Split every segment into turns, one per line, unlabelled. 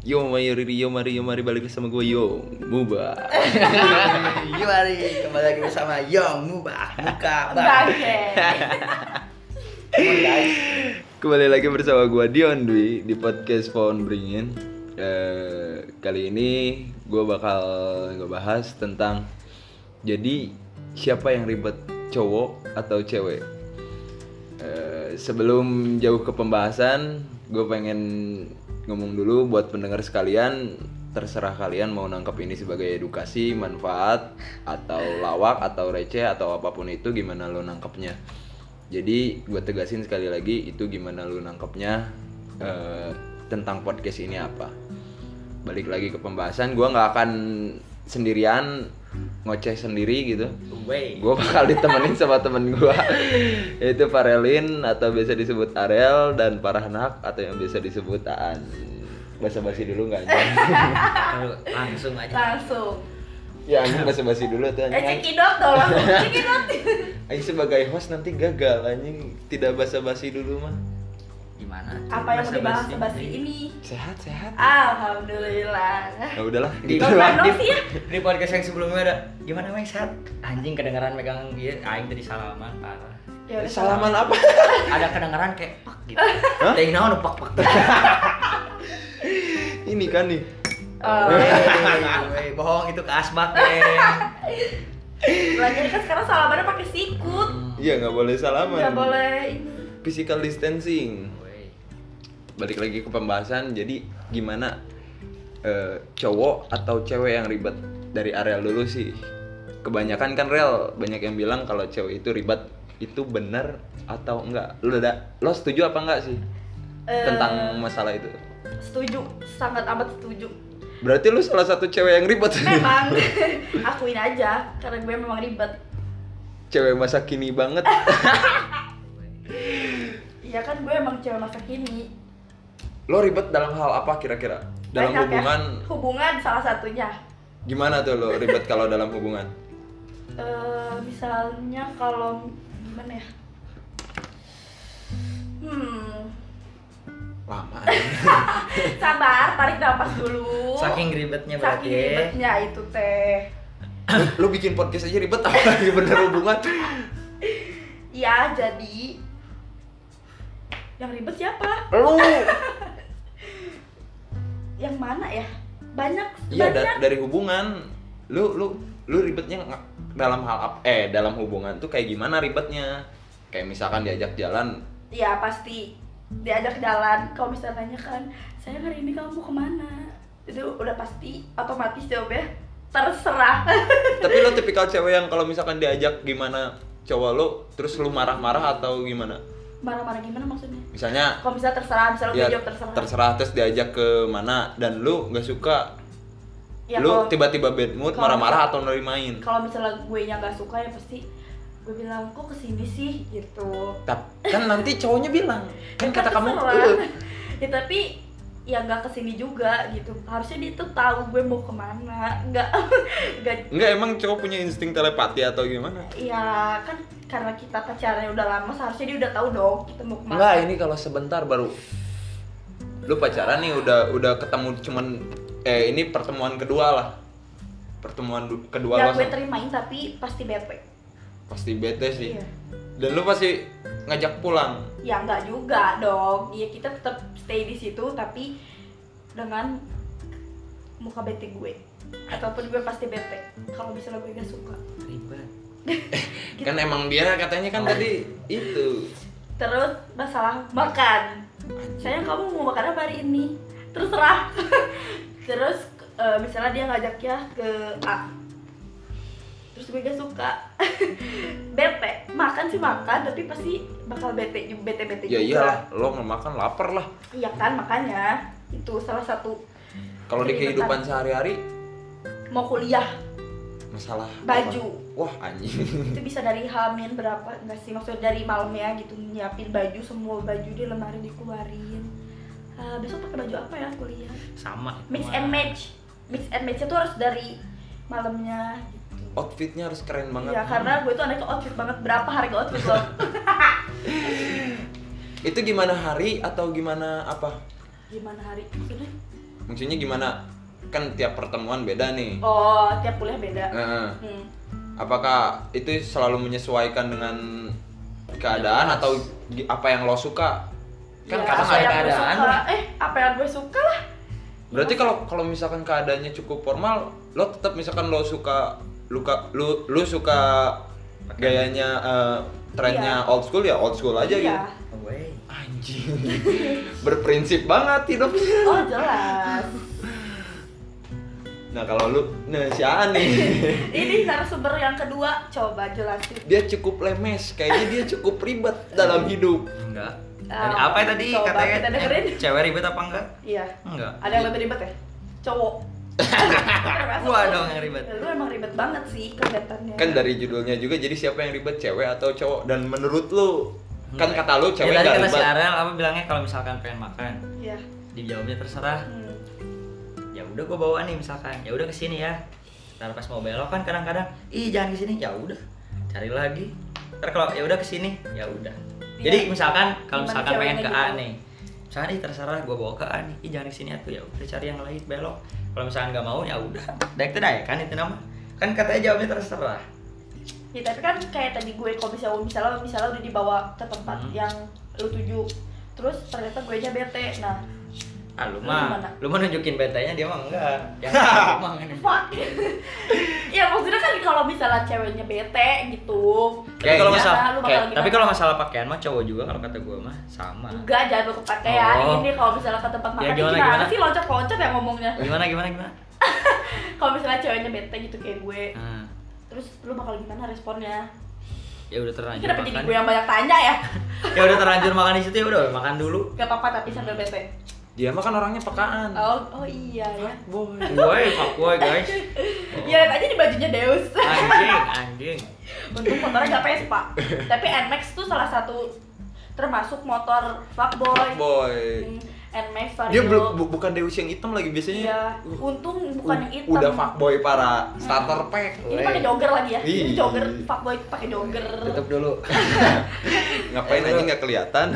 Yo mari Riri, yo mari yo mari balik lagi sama gue yo Muba.
Yumari kembali lagi bersama Yong Mubah Muka Bang.
Bangke.
Kembali lagi bersama gue Dion Dwi di podcast Phone Bringin. Eh, kali ini gue bakal ngebahas tentang jadi siapa yang ribet cowok atau cewek. Eh, sebelum jauh ke pembahasan, gue pengen ngomong dulu buat pendengar sekalian terserah kalian mau nangkap ini sebagai edukasi, manfaat, atau lawak, atau receh, atau apapun itu gimana lo nangkapnya. Jadi gue tegasin sekali lagi itu gimana lo nangkapnya eh, tentang podcast ini apa. Balik lagi ke pembahasan, gue nggak akan sendirian ngoceh sendiri gitu
Wey.
gue bakal ditemenin sama temen gue yaitu Farelin atau biasa disebut Arel dan Parahnak atau yang biasa disebut Aan basa basi dulu nggak anjing
Langsung
Nah,
aja.
Langsung.
ya anjing basa basi dulu tuh
Eh
anjing
cekidot dong langsung. Cekidot.
anjing sebagai host nanti gagal anjing tidak basa basi dulu mah
Gimana? tuh
Apa yang mau dibahas
basa-basi?
sebasi ini?
sehat sehat
Ah. Alhamdulillah.
nah udahlah
Di,
gitu
Gak
lah
berani sih ya.
di podcast yang sebelumnya ada gimana Mang Sat? Anjing kedengaran megang dia aing tadi salaman parah.
Ya udah,
salaman apa
Ada kedengaran kayak pak gitu.
Hah?
Teh naon pak pak. gitu.
ini kan nih
Oh,
Wey, bohong itu ke asbak deh.
Lagi kan sekarang salamannya pakai sikut.
Hmm.
iya nggak boleh salaman
Gak boleh ini.
physical distancing balik lagi ke pembahasan jadi gimana eh, cowok atau cewek yang ribet dari Ariel dulu sih kebanyakan kan rel banyak yang bilang kalau cewek itu ribet itu bener atau enggak lo udah lo setuju apa enggak sih
Eh.
tentang masalah itu
Setuju, sangat amat setuju.
berarti lu salah satu cewek yang ribet
Memang akuin aja karena gue memang ribet.
cewek masa kini banget
Iya kan gue emang cewek masa kini.
lo ribet dalam hal apa kira-kira dalam
Banyak ya.
hubungan
Hubungan salah satunya.
gimana tuh lo ribet kalau dalam hubungan
eh misalnya kalau gimana ya? Hmm,
lama
sabar, tarik nafas dulu.
Saking ribetnya
Oh. Saking
berarti.
ribetnya itu teh.
lo bikin podcast aja ribet apalagi bener hubungan
Ya jadi yang ribet siapa?
lu
Yang mana ya? Banyak.
iya
banyak.
da- dari hubungan lu lu lu ribetnya nga- dalam hal apa eh dalam hubungan tuh kayak gimana ribetnya kayak misalkan diajak jalan
Iya pasti diajak jalan. Kalau misalnya nanya kan, saya hari ini kamu mau kemana? Itu udah pasti otomatis jawabnya terserah.
tapi lu tipikal cewek yang kalau misalkan diajak gimana cowok lu terus lu marah-marah atau gimana
Marah-marah gimana maksudnya?
misalnya
Kalau misalnya terserah, misalnya gue
ya
jawab terserah.
terserah terus diajak ke mana dan lu nggak suka
Ya,
lu
kalau-
tiba-tiba bad mood
kalau-
marah-marah atau nerimain
kalau misalnya gue nya nggak suka ya pasti gue bilang kok kesini sih gitu
Tap- kan nanti cowoknya bilang kan
Ya,
kata kamu
terserah.
"Eh,
ya tapi ya nggak kesini juga gitu harusnya dia tuh tahu gue mau kemana nggak nggak
Enggak emang cowok punya insting telepati atau gimana
ya kan karena kita pacarnya udah lama seharusnya dia udah tahu dong kita mau kemana Ya,
Enggak, ini kalau sebentar baru lu pacaran nih udah udah ketemu cuman eh ini pertemuan kedua lah. Pertemuan du- kedua
ya
lo
gue
sama-
terimain tapi pasti bete
pasti bete sih.
Iya.
Dan lu pasti ngajak pulang.
ya nggak juga dong ya kita tetap stay di situ tapi dengan muka bete gue ataupun gue pasti bete kalau misalnya gue nggak suka
Ribet.
Gitu.
Kan emang dia katanya kan tadi itu.
Terus masalah makan. Sayang kamu mau makan apa hari ini? Terserah. Terus eh, misalnya dia ngajak ya ke A. Terus gue gak suka. bete. Makan sih makan tapi pasti bakal bete bete bete
Ya iyalah, lo nggak makan lapar lah.
Iya kan makanya itu salah satu
Kalau di
Keribetan.
kehidupan sehari-hari
mau kuliah
masalah
Baju.
apa? Wah, anjing.
itu bisa dari hamin berapa enggak sih maksudnya dari malamnya gitu nyiapin baju semua baju di lemari dikeluarin Ah, besok pakai baju apa ya kuliah
Sama. itu
mix
mah.
and match mix and match itu harus dari malamnya gitu
Outfitnya harus keren banget.
ya karena gue tuh anaknya outfit banget berapa harga outfit lo
Itu gimana hari atau gimana apa?
gimana hari maksudnya
maksudnya gimana kan tiap pertemuan beda nih
oh tiap kuliah beda
Heeh.
hmm.
apakah itu selalu menyesuaikan dengan keadaan
Jelas.
atau gi- apa yang lo suka
Kan
Ya,
kadang ada
apa yang gue
keadaan.
suka. eh apa yang gue suka lah
berarti kalau kalau misalkan keadaannya cukup formal lo tetap misalkan lo suka luka lu lu suka gayanya eh, trennya old school ya old school aja gitu
iya.
Away.
anjing berprinsip banget hidupnya
oh jelas
nah kalau lu nah si Aan nih
ini narasumber yang kedua coba jelasin
dia cukup lemes kayaknya dia cukup ribet dalam hidup
Enggak. Tadi
Ah,
apa ya tadi
coba
katanya?
kita dengerin.
eh, cewek ribet apa enggak?
iya
Enggak.
ada yang lebih ribet ya cowok
Gua dong yang ribet.
Ya, lu emang ribet banget sih kelihatannya
kan dari judulnya juga jadi siapa yang ribet cewek atau cowok dan menurut lu kan kata lu cewek
ya,
nggak
tadi kata si
ribet
Ariel apa bilangnya kalau misalkan pengen makan
iya
dijawabnya terserah
Hmm.
ya udah gua bawa nih misalkan ya udah kesini ya ntar pas mau belok kan kadang-kadang ih jangan kesini ya udah cari lagi ntar kalau ya udah kesini ya udah jadi
Iya.
misalkan kalau
Gimana
misalkan pengen
ceweknya
ke A
gitu?
nih misalkan ih terserah gua bawa ke A nih ih jangan kesini atuh ya udah cari yang lain belok kalau misalkan nggak mau ya udah daik tuh daik kan itu nama kan katanya jawabnya terserah
Ya tapi kan kayak tadi gue kalau misalnya misalnya misalnya udah dibawa ke tempat
Hmm.
yang lu tuju terus ternyata gue aja bete nah
ah lu
Lu
mah
gimana?
lu mau nunjukin petanya dia mah enggak jangan lu mah kan. nggak nih.
fuck ya maksudnya kan kalau misalnya ceweknya bete gitu
tapi kalau
Kayaknya-
masalah
lu bakal
kayak-
gimana?
tapi kalau masalah pakaian mah cowok juga kalau kata gua mah sama
enggak jangan lu kepakean
Ah. Oh.
ini kalau misalnya ke tempat
Ya,
makan ini
gimana,
gimana,
gimana?
sih loncat-loncat ya ngomongnya
gimana gimana gimana
kalau misalnya ceweknya bete gitu kayak gue
Ah.
terus lu bakal gimana responnya
ya udah terlanjur
kenapa jadi
makan
gue yang banyak tanya ya
ya udah terlanjur makan di situ ya udah makan dulu
gak apa-apa tapi sambil bete
dia mah kan orangnya pekaan
oh oh iya ya
boy
woi fuck woi guys Oh,
ya lihat aja di bajunya Deus
anjing anjing
Untung motornya nggak Vespa. Tapi NMAX tuh salah satu termasuk motor fuckboy.
boy
Hmm, NMAX Vario.
dia belum bu- bukan Deus yang hitam lagi biasanya
Iya.
Uh,
Untung bukan yang hitam.
udah fuckboy para starter pack
Ini pakai jogger lagi ya. Ini
Ih.
jogger fuckboy itu pakai jogger.
tutup dulu
ngapain aja nggak kelihatan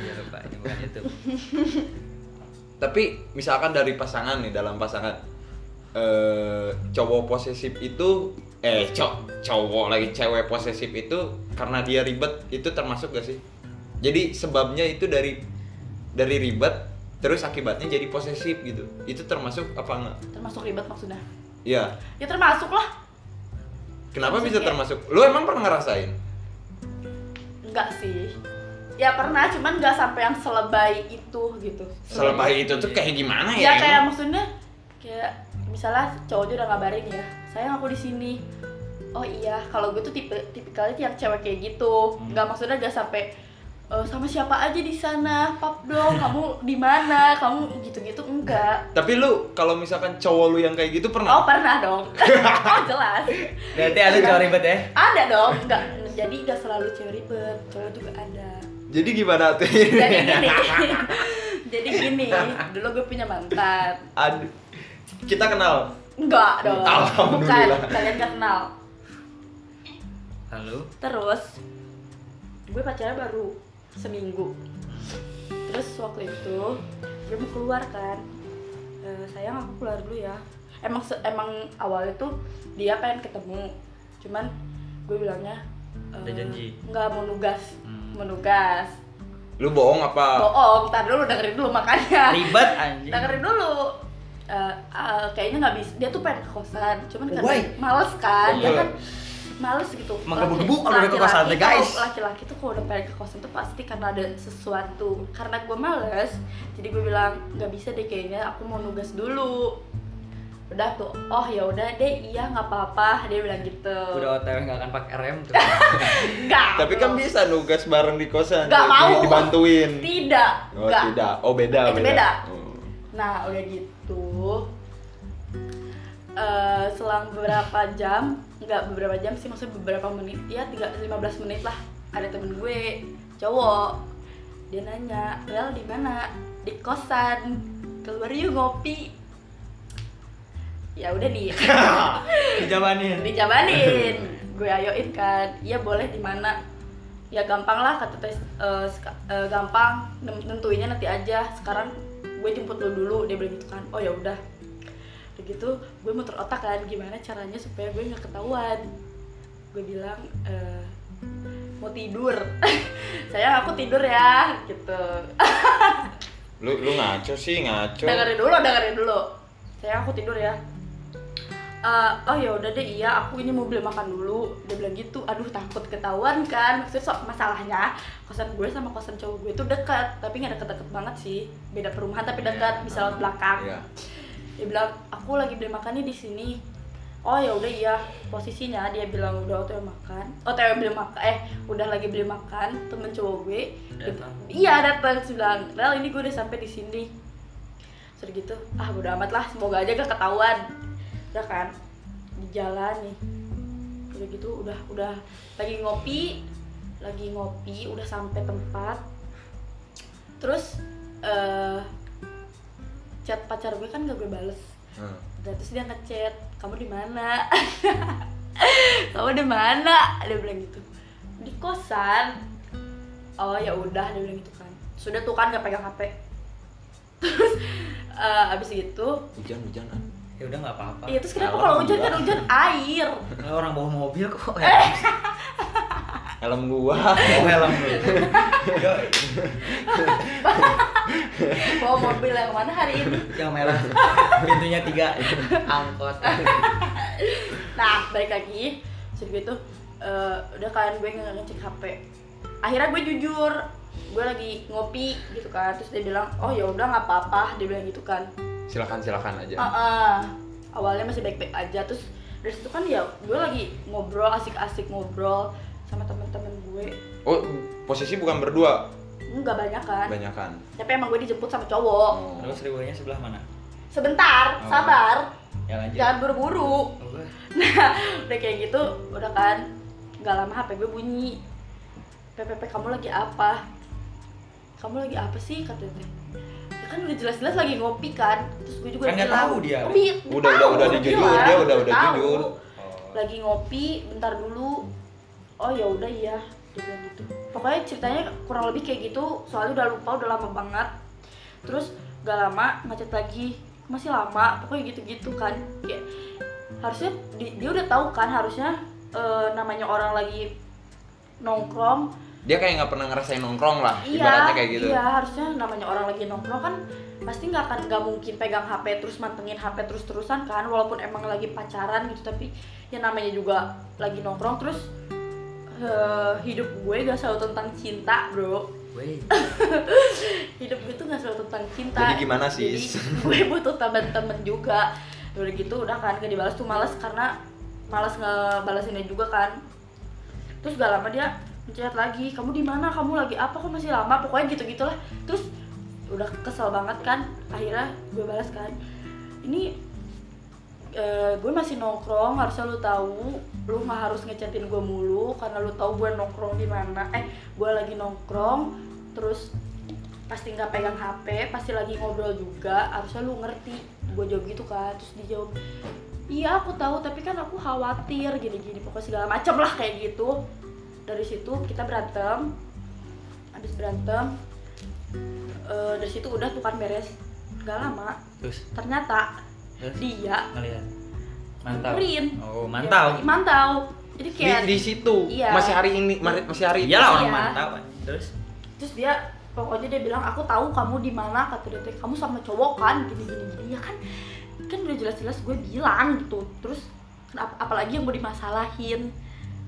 iya lupa ini bukan itu
tapi misalkan dari pasangan nih dalam pasangan eh cowok posesif itu eh cowok cowok lagi cewek posesif itu karena dia ribet itu termasuk gak sih jadi sebabnya itu dari dari ribet terus akibatnya jadi posesif gitu itu termasuk apa enggak
Termasuk ribet maksudnya.
ya
Ya termasuk lah.
kenapa
Termasuk
bisa
ya.
termasuk lu emang pernah ngerasain
Enggak sih. Ya pernah, cuman nggak sampai yang selebay itu gitu.
selebay itu tuh kayak gimana ya,
Ya kayak
emang?
maksudnya kayak misalnya cowoknya udah ngabarin ya, sayang aku di sini. Oh iya, kalau gue tuh tipe tipikalnya yang cewek kayak gitu.
Hmm.
Nggak maksudnya nggak sampai "Eh, sama siapa aja di sana, pap dong, kamu di mana, kamu gitu-gitu enggak.
tapi lu kalau misalkan cowok lu yang kayak gitu
Oh
pernah
pernah dong. oh jelas.
berarti ada cowok ribet ya
Ada dong. Enggak. Jadi nggak selalu cewek ribet, cowok juga ada.
jadi gimana tuh
Jadi gini. Jadi gini, dulu gue punya mantan.
aduh kita kenal
Enggak dong. Bukan,
Alhamdulillah.
kalian gak kenal.
halo
Terus gue pacarnya baru seminggu. Terus waktu itu gue mau keluar kan. Eh, sayang aku keluar dulu ya. Emang se- emang awalnya tuh dia pengen ketemu. Cuman gue bilangnya
Ada janji.
Enggak mau nugas.
Hmm.
Mau nugas.
lu bohong apa
Bohong, tar dulu dengerin dulu makanya.
ribet anjing
Iya. Dengerin dulu. Eh, eh, kayaknya nggak bisa dia tuh pengen ke kosan cuman kan
Why?
males kan dia
Why?
kan males gitu
Menggebu-gebu kalau udah ke kosan tuh,
Laki-laki
guys.
kalau- laki-laki tuh kalau udah pengen ke kosan tuh pasti karena ada sesuatu karena gue males jadi gue bilang nggak bisa deh kayaknya aku mau nugas dulu udah tuh oh ya udah deh iya nggak apa-apa dia bilang gitu
udah otw nggak akan pakai rem tuh
nggak
Tapi kan bisa nugas bareng di kosan.
Nggak
di-
mau.
Dibantuin.
tidak
Oh,
nggak.
tidak. Oh, beda,
Itu
beda.
beda.
Oh.
Nah udah gitu eh, selang beberapa jam nggak beberapa jam sih maksudnya beberapa menit ya tiga- 15 menit lah ada temen gue cowok dia nanya Rel di mana di kosan keluar yuk ngopi ya udah nih
dijabanin
dijabanin gue ayoin kan iya boleh di mana ya gampang lah kata tes eh, seka- eh, gampang Nem- nentuinnya nanti aja sekarang gue jemput lu dulu dia bilang gitu kan oh ya udah Udah gitu gue muter otak kan gimana caranya supaya gue nggak ketahuan gue bilang "Eh, mau tidur saya aku tidur ya gitu
Lu lu ngaco sih, ngaco.
dengerin dulu dengerin dulu saya aku tidur ya Eh, oh ya udah deh iya aku ini mau beli makan dulu dia bilang gitu aduh takut ketahuan kan maksudnya so- masalahnya kosan gue sama kosan cowok gue itu dekat tapi nggak deket-deket banget sih beda perumahan tapi dekat bisa lewat belakang
Iya.
dia bilang aku lagi beli makan nih di sini oh ya udah iya posisinya dia bilang udah otw makan otw beli makan eh udah lagi beli makan temen cowok gue
Datang.
iya datang terus bilang rel ini gue udah sampai di sini terus gitu ah udah amat lah semoga aja gak ketahuan udah kan di jalan nih udah gitu udah udah lagi ngopi lagi ngopi udah sampai tempat terus eh chat pacar gue kan gak gue bales
Hmm.
dan terus dia ngechat kamu di mana kamu di mana dia bilang gitu di kosan oh ya udah dia bilang gitu kan sudah tuh kan nggak pegang hp terus eh, abis itu
Hujan hujanan.
ya udah nggak apa-apa
iya terus kenapa
Alam
kalau hujan
gua.
kan hujan air
Lah, Eh, orang bawa mobil kok helm
Eh.
Helm gua.
bawa helm dulu Yo,
bawa mobil yang mana hari ini
yang merah pintunya tiga angkot
nah balik lagi terus gitu eh, udah kan gue nggak ngecek hp akhirnya gue jujur gue lagi ngopi gitu kan terus dia bilang oh ya udah nggak apa-apa dia bilang gitu kan
Silakan silakan aja.
Iya.
Heeh. Ah, awalnya masih baik-baik aja terus dari situ kan ya gue lagi ngobrol asik-asik ngobrol sama temen-temen gue
Oh, posisi bukan berdua,
nggak banyak kan
banyakan.
tapi emang gue dijemput sama cowok
Oh.
terus ribuannya sebelah mana
sebentar
Oh.
sabar
ya lanjut
jangan buru-buru
Oh, gua.
nah udah kayak gitu udah kan nggak lama hp gue bunyi ppp kamu lagi apa kamu lagi apa sih kata dia ya kan udah jelas-jelas lagi ngopi kan terus gue
Kan
juga
nggak
bilang,
tahu dia.
"Oh, iya,
Udah, udah,
tahu,
udah dijujur,
bilang,
dia udah- udah
tahu."
jujur.
Oh.
lagi ngopi bentar dulu oh ya udah iya dia bilang gitu pokoknya ceritanya kurang lebih kayak gitu soalnya udah lupa udah lama banget terus gak lama macet lagi masih lama pokoknya gitu-gitu kan kayak harusnya di- dia udah tahu kan harusnya eh, namanya orang lagi nongkrong
Dia kayak nggak pernah ngerasain nongkrong lah,
iya
ibaratnya kayak gitu.
iya harusnya namanya orang lagi nongkrong kan pasti nggak akan nggak mungkin pegang HP terus mantengin HP terus terusan kan walaupun emang lagi pacaran gitu tapi ya namanya juga lagi nongkrong terus eh, hidup gue gak selalu tentang cinta bro
Weh,
hidup gue tuh gak selalu tentang cinta
Jadi gimana,
Jadi
sis?
gue butuh temen-temen juga udah gitu udah kan gak dibalas tuh males karena males ngebalasinnya juga kan terus gak lama dia ngechat lagi kamu di mana kamu lagi apa kok masih lama pokoknya gitu gitulah terus udah kesel banget kan akhirnya gue balas kan ini eh, gue masih nongkrong harusnya lu tahu lu nggak harus ngechatin gue mulu karena lu tahu gue nongkrong di mana eh gue lagi nongkrong terus pasti nggak pegang HP pasti lagi ngobrol juga harusnya lu ngerti gue jawab gitu kan terus dijawab iya aku tahu tapi kan aku khawatir gini-gini pokoknya segala macam lah kayak gitu dari situ kita berantem habis berantem eh, dari situ udah tuh kan beres nggak lama
terus
ternyata
terus
dia
ngelihat mantap
Nyamperin.
oh mantau
mantau jadi
Di,
kayak
di situ,
Iya.
masih hari ini, mari- masih hari
iyalah orang
Iya.
mantau Pak. terus
terus dia pokoknya dia bilang aku tahu kamu di mana kata dia teh, kamu sama cowok kan gini gini gini ya kan kan udah jelas-jelas gue bilang gitu terus kenapa- apalagi yang mau dimasalahin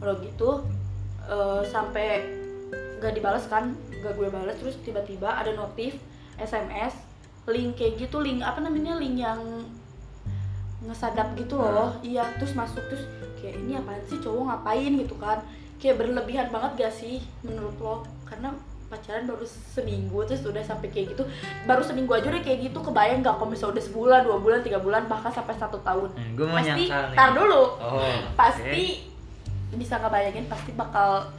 kalau gitu eh, sampai gak dibalas kan gak gue balas terus tiba-tiba ada notif SMS link kayak gitu link apa namanya link yang ngesadap gitu loh iya terus masuk terus kayak ini apaan sih cowok ngapain gitu kan kayak berlebihan banget gak sih menurut lo karena pacaran baru seminggu terus udah sampai kayak gitu baru seminggu aja udah kayak gitu kebayang gak kalau misalnya udah sebulan dua bulan tiga bulan bahkan sampai satu tahun
nah, gue mau
pasti
nyangkal nih
tar dulu
oh
pasti bisa ngebayangin pasti bakal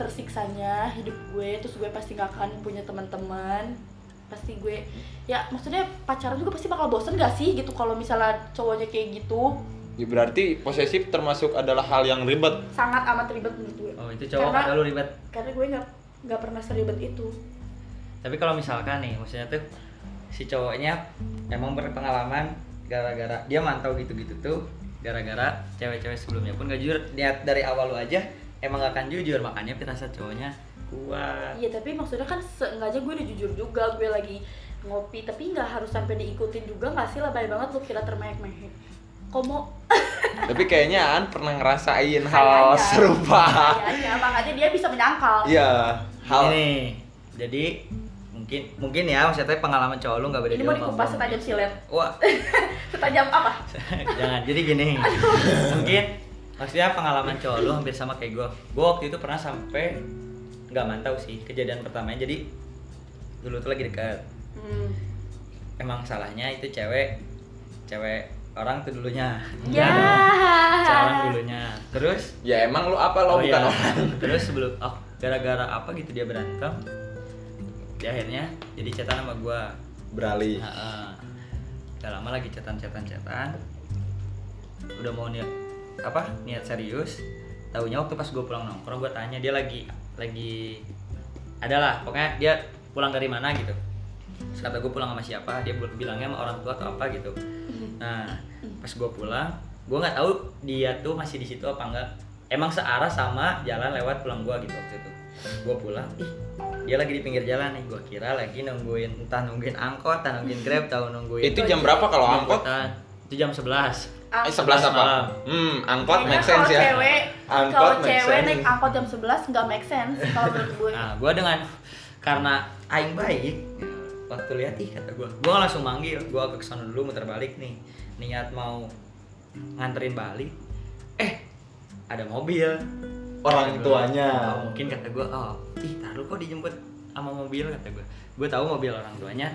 tersiksanya hidup gue terus gue pasti gak akan punya teman-teman pasti gue ya maksudnya pacaran juga pasti bakal bosen gak sih gitu kalau misalnya cowoknya kayak gitu
Ya, berarti posesif termasuk adalah hal yang ribet.
sangat amat ribet menurut gue
oke. oh itu cowok
Karena-
kata lu ribet
karena gue nggak nggak pernah seribet itu
tapi kalau misalkan nih maksudnya tuh si cowoknya emang berpengalaman gara-gara dia mantau gitu-gitu tuh gara-gara cewek-cewek sebelumnya pun gak jujur niat dari awal lu aja emang gak akan jujur makanya firasat cowoknya kuat
Iya tapi maksudnya kan sengaja gue udah jujur juga gue lagi ngopi tapi nggak harus sampai diikutin juga nggak sih lebay banget lu kira termehek-mehek. Komo
Tapi kayaknya An pernah ngerasain
Kayaknya.
hal serupa.
Kayaknya makanya dia bisa menyangkal.
Iya, hal
ini jadi mungkin mungkin ya maksudnya pengalaman cowok lu gak beda
Ini
jauh
mau
sama
dikupas
gua.
setajam silet.
wah
Setajam apa?
jangan jadi gini mungkin maksudnya pengalaman cowok lu hampir sama kayak gue gue waktu itu pernah sampai nggak mantau sih kejadian pertamanya jadi dulu tuh lagi dekat
Hmm.
emang salahnya itu cewek cewek orang tuh dulunya
Ya.
cewek orang dulunya terus
ya emang lu apa lo
Oh,
bukan
iya.
orang.
terus sebelum oh, gara-gara apa gitu dia berantem di akhirnya jadi cetan sama gue
beralih
Heeh. Udah lama lagi cetan cetan cetan. Udah mau niat apa? Niat serius. Tahunya waktu pas gue pulang nongkrong gue tanya dia lagi lagi adalah pokoknya dia pulang dari mana gitu. Terus kata gue pulang sama siapa? Dia bil- bilangnya sama orang tua atau apa gitu. Nah, pas gue pulang, gue nggak tahu dia tuh masih di situ apa enggak. Emang searah sama jalan lewat pulang gue gitu waktu itu. Gue pulang, ih dia lagi di pinggir jalan nih. Gue kira lagi nungguin entah nungguin angkot, entah nungguin grab, entah nungguin
Itu jam berapa kalau angkot?
angkotan. Itu jam 11
Ah,
Eh, sebelas
Malam. Iya,
apa? Hmm, angkot make
kalau
sense ya.
Cewek,
Angkot
kalau
make
cewek
sense. Ah.
naik angkot jam 11 nggak make sense kalau menurut gue.
Nah, gue dengan karena aing baik waktu lihat ih kata gue, gue langsung manggil, gue ke sana dulu muter balik nih, niat mau nganterin balik, eh ada mobil
Orang
Kata gua,
tuanya.
"Oh, mungkin kata gue, oh ih taruh kok dijemput sama mobil kata gue, gue tahu mobil orang tuanya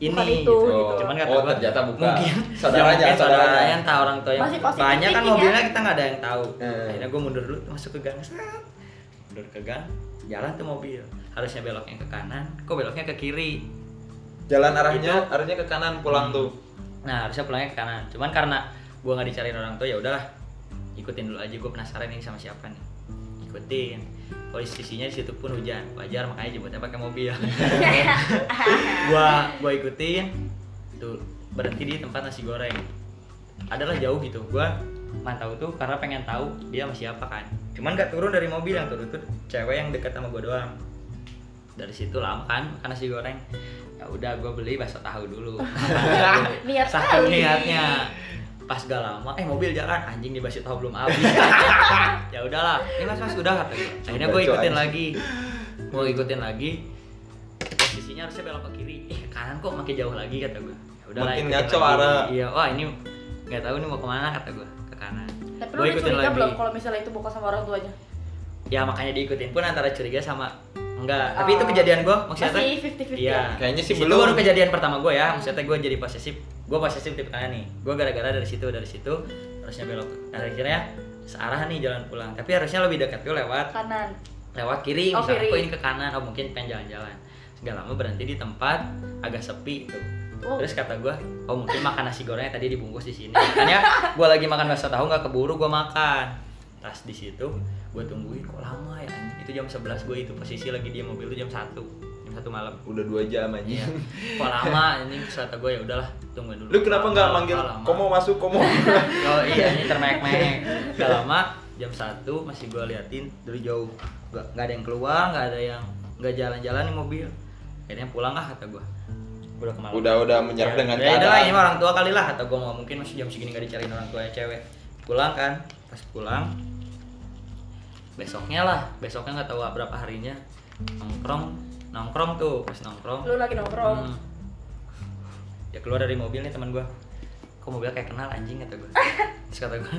ini
Bukan itu, gitu.
cuman kata
oh,
gua,
ternyata bukan.
mungkin
Saudaranya,
mungkin saudaranya
saudaranya.
entah orang tua yang
Masih positive
banyak kan
thinking, ya?
mobilnya kita nggak ada yang tahu
Hmm.
akhirnya gue mundur dulu masuk ke gang set. mundur ke gang jalan tuh mobil harusnya beloknya ke kanan kok beloknya ke kiri
Jalan arahnya, arahnya ke kanan pulang tuh.
nah harusnya pulangnya ke kanan cuman karena gue nggak dicariin orang tua ya udahlah ikutin dulu aja gue penasaran ini sama siapa nih ikutin posisinya di situ pun hujan wajar makanya jemputnya pakai mobil gua gua ikutin tuh berhenti di tempat nasi goreng adalah jauh gitu gua mantau tuh karena pengen tahu dia sama siapa kan cuman gak turun dari mobil yang turun tuh cewek yang dekat sama gua doang dari situ lama kan makan nasi goreng ya udah gua beli bakso tahu dulu
Niat
Saking
kali.
niatnya pas gak lama eh mobil jalan anjing di bakso tahu belum habis ya udahlah ini mas mas udah kata gua. akhirnya gua
Bacot.
ikutin lagi gua ikutin lagi posisinya harusnya belok ke kiri eh ke kanan kok makin jauh lagi kata gue ya udahlah
Makin
ikutin
ngaco
lagi.
arah.
iya wah ini nggak tahu nih mau kemana kata gue ke kanan
Tapi lu
Gua
udah curiga belum kalau misalnya itu bukan sama orang tuanya?
ya makanya diikutin pun antara curiga sama enggak tapi
Oh.
itu kejadian gue maksudnya
Masih ya? 50-50.
iya
Kayaknya sih
Di situ
belum.
baru kejadian pertama gue ya maksudnya gue jadi posesif gue posesif tipe kanan nih gue gara-gara dari situ dari situ harusnya belok Nah, akhirnya searah nih jalan pulang tapi harusnya lebih dekat gue lewat
Kanan.
lewat kiri
Oh,
misalnya
kiri.
kok ini ke kanan oh mungkin pengen jalan-jalan nggak lama berhenti di tempat agak sepi itu
Oh.
terus kata gua oh mungkin makan nasi gorengnya tadi dibungkus di sini makanya gua lagi makan bakso tahu nggak keburu gua makan tas di situ gua tungguin kok lama ya anjing? itu jam 11 gua itu posisi lagi di mobil itu jam 1 jam 1 malam
udah dua jam aja
Iya. kok lama ini terus kata gua ya udahlah tungguin dulu
Lu kenapa nggak
Lama,
manggil
lama.
komo masuk komo?
Oh iya ini termek-mek. Gak lama jam 1 masih gua liatin dari jauh. Gak, nggak ada yang keluar, gak ada yang nggak jalan-jalan di mobil. Akhirnya pulang lah kata gua. Udah kemarin.
udah udah menyerah dengan
ya, udah lah, ini mah
keadaan.
orang tua kali lah kata gua nggak mungkin masih jam segini gak dicariin orang tuanya cewek. Pulang kan, pas pulang besoknya lah, besoknya nggak tahu berapa harinya nongkrong nongkrong tuh pas nongkrong
Oh, Lu lagi nongkrong.
Hmm. Ya keluar dari mobil nih teman gua. Kok mobil kayak kenal anjing kata gua. Terus kata gua,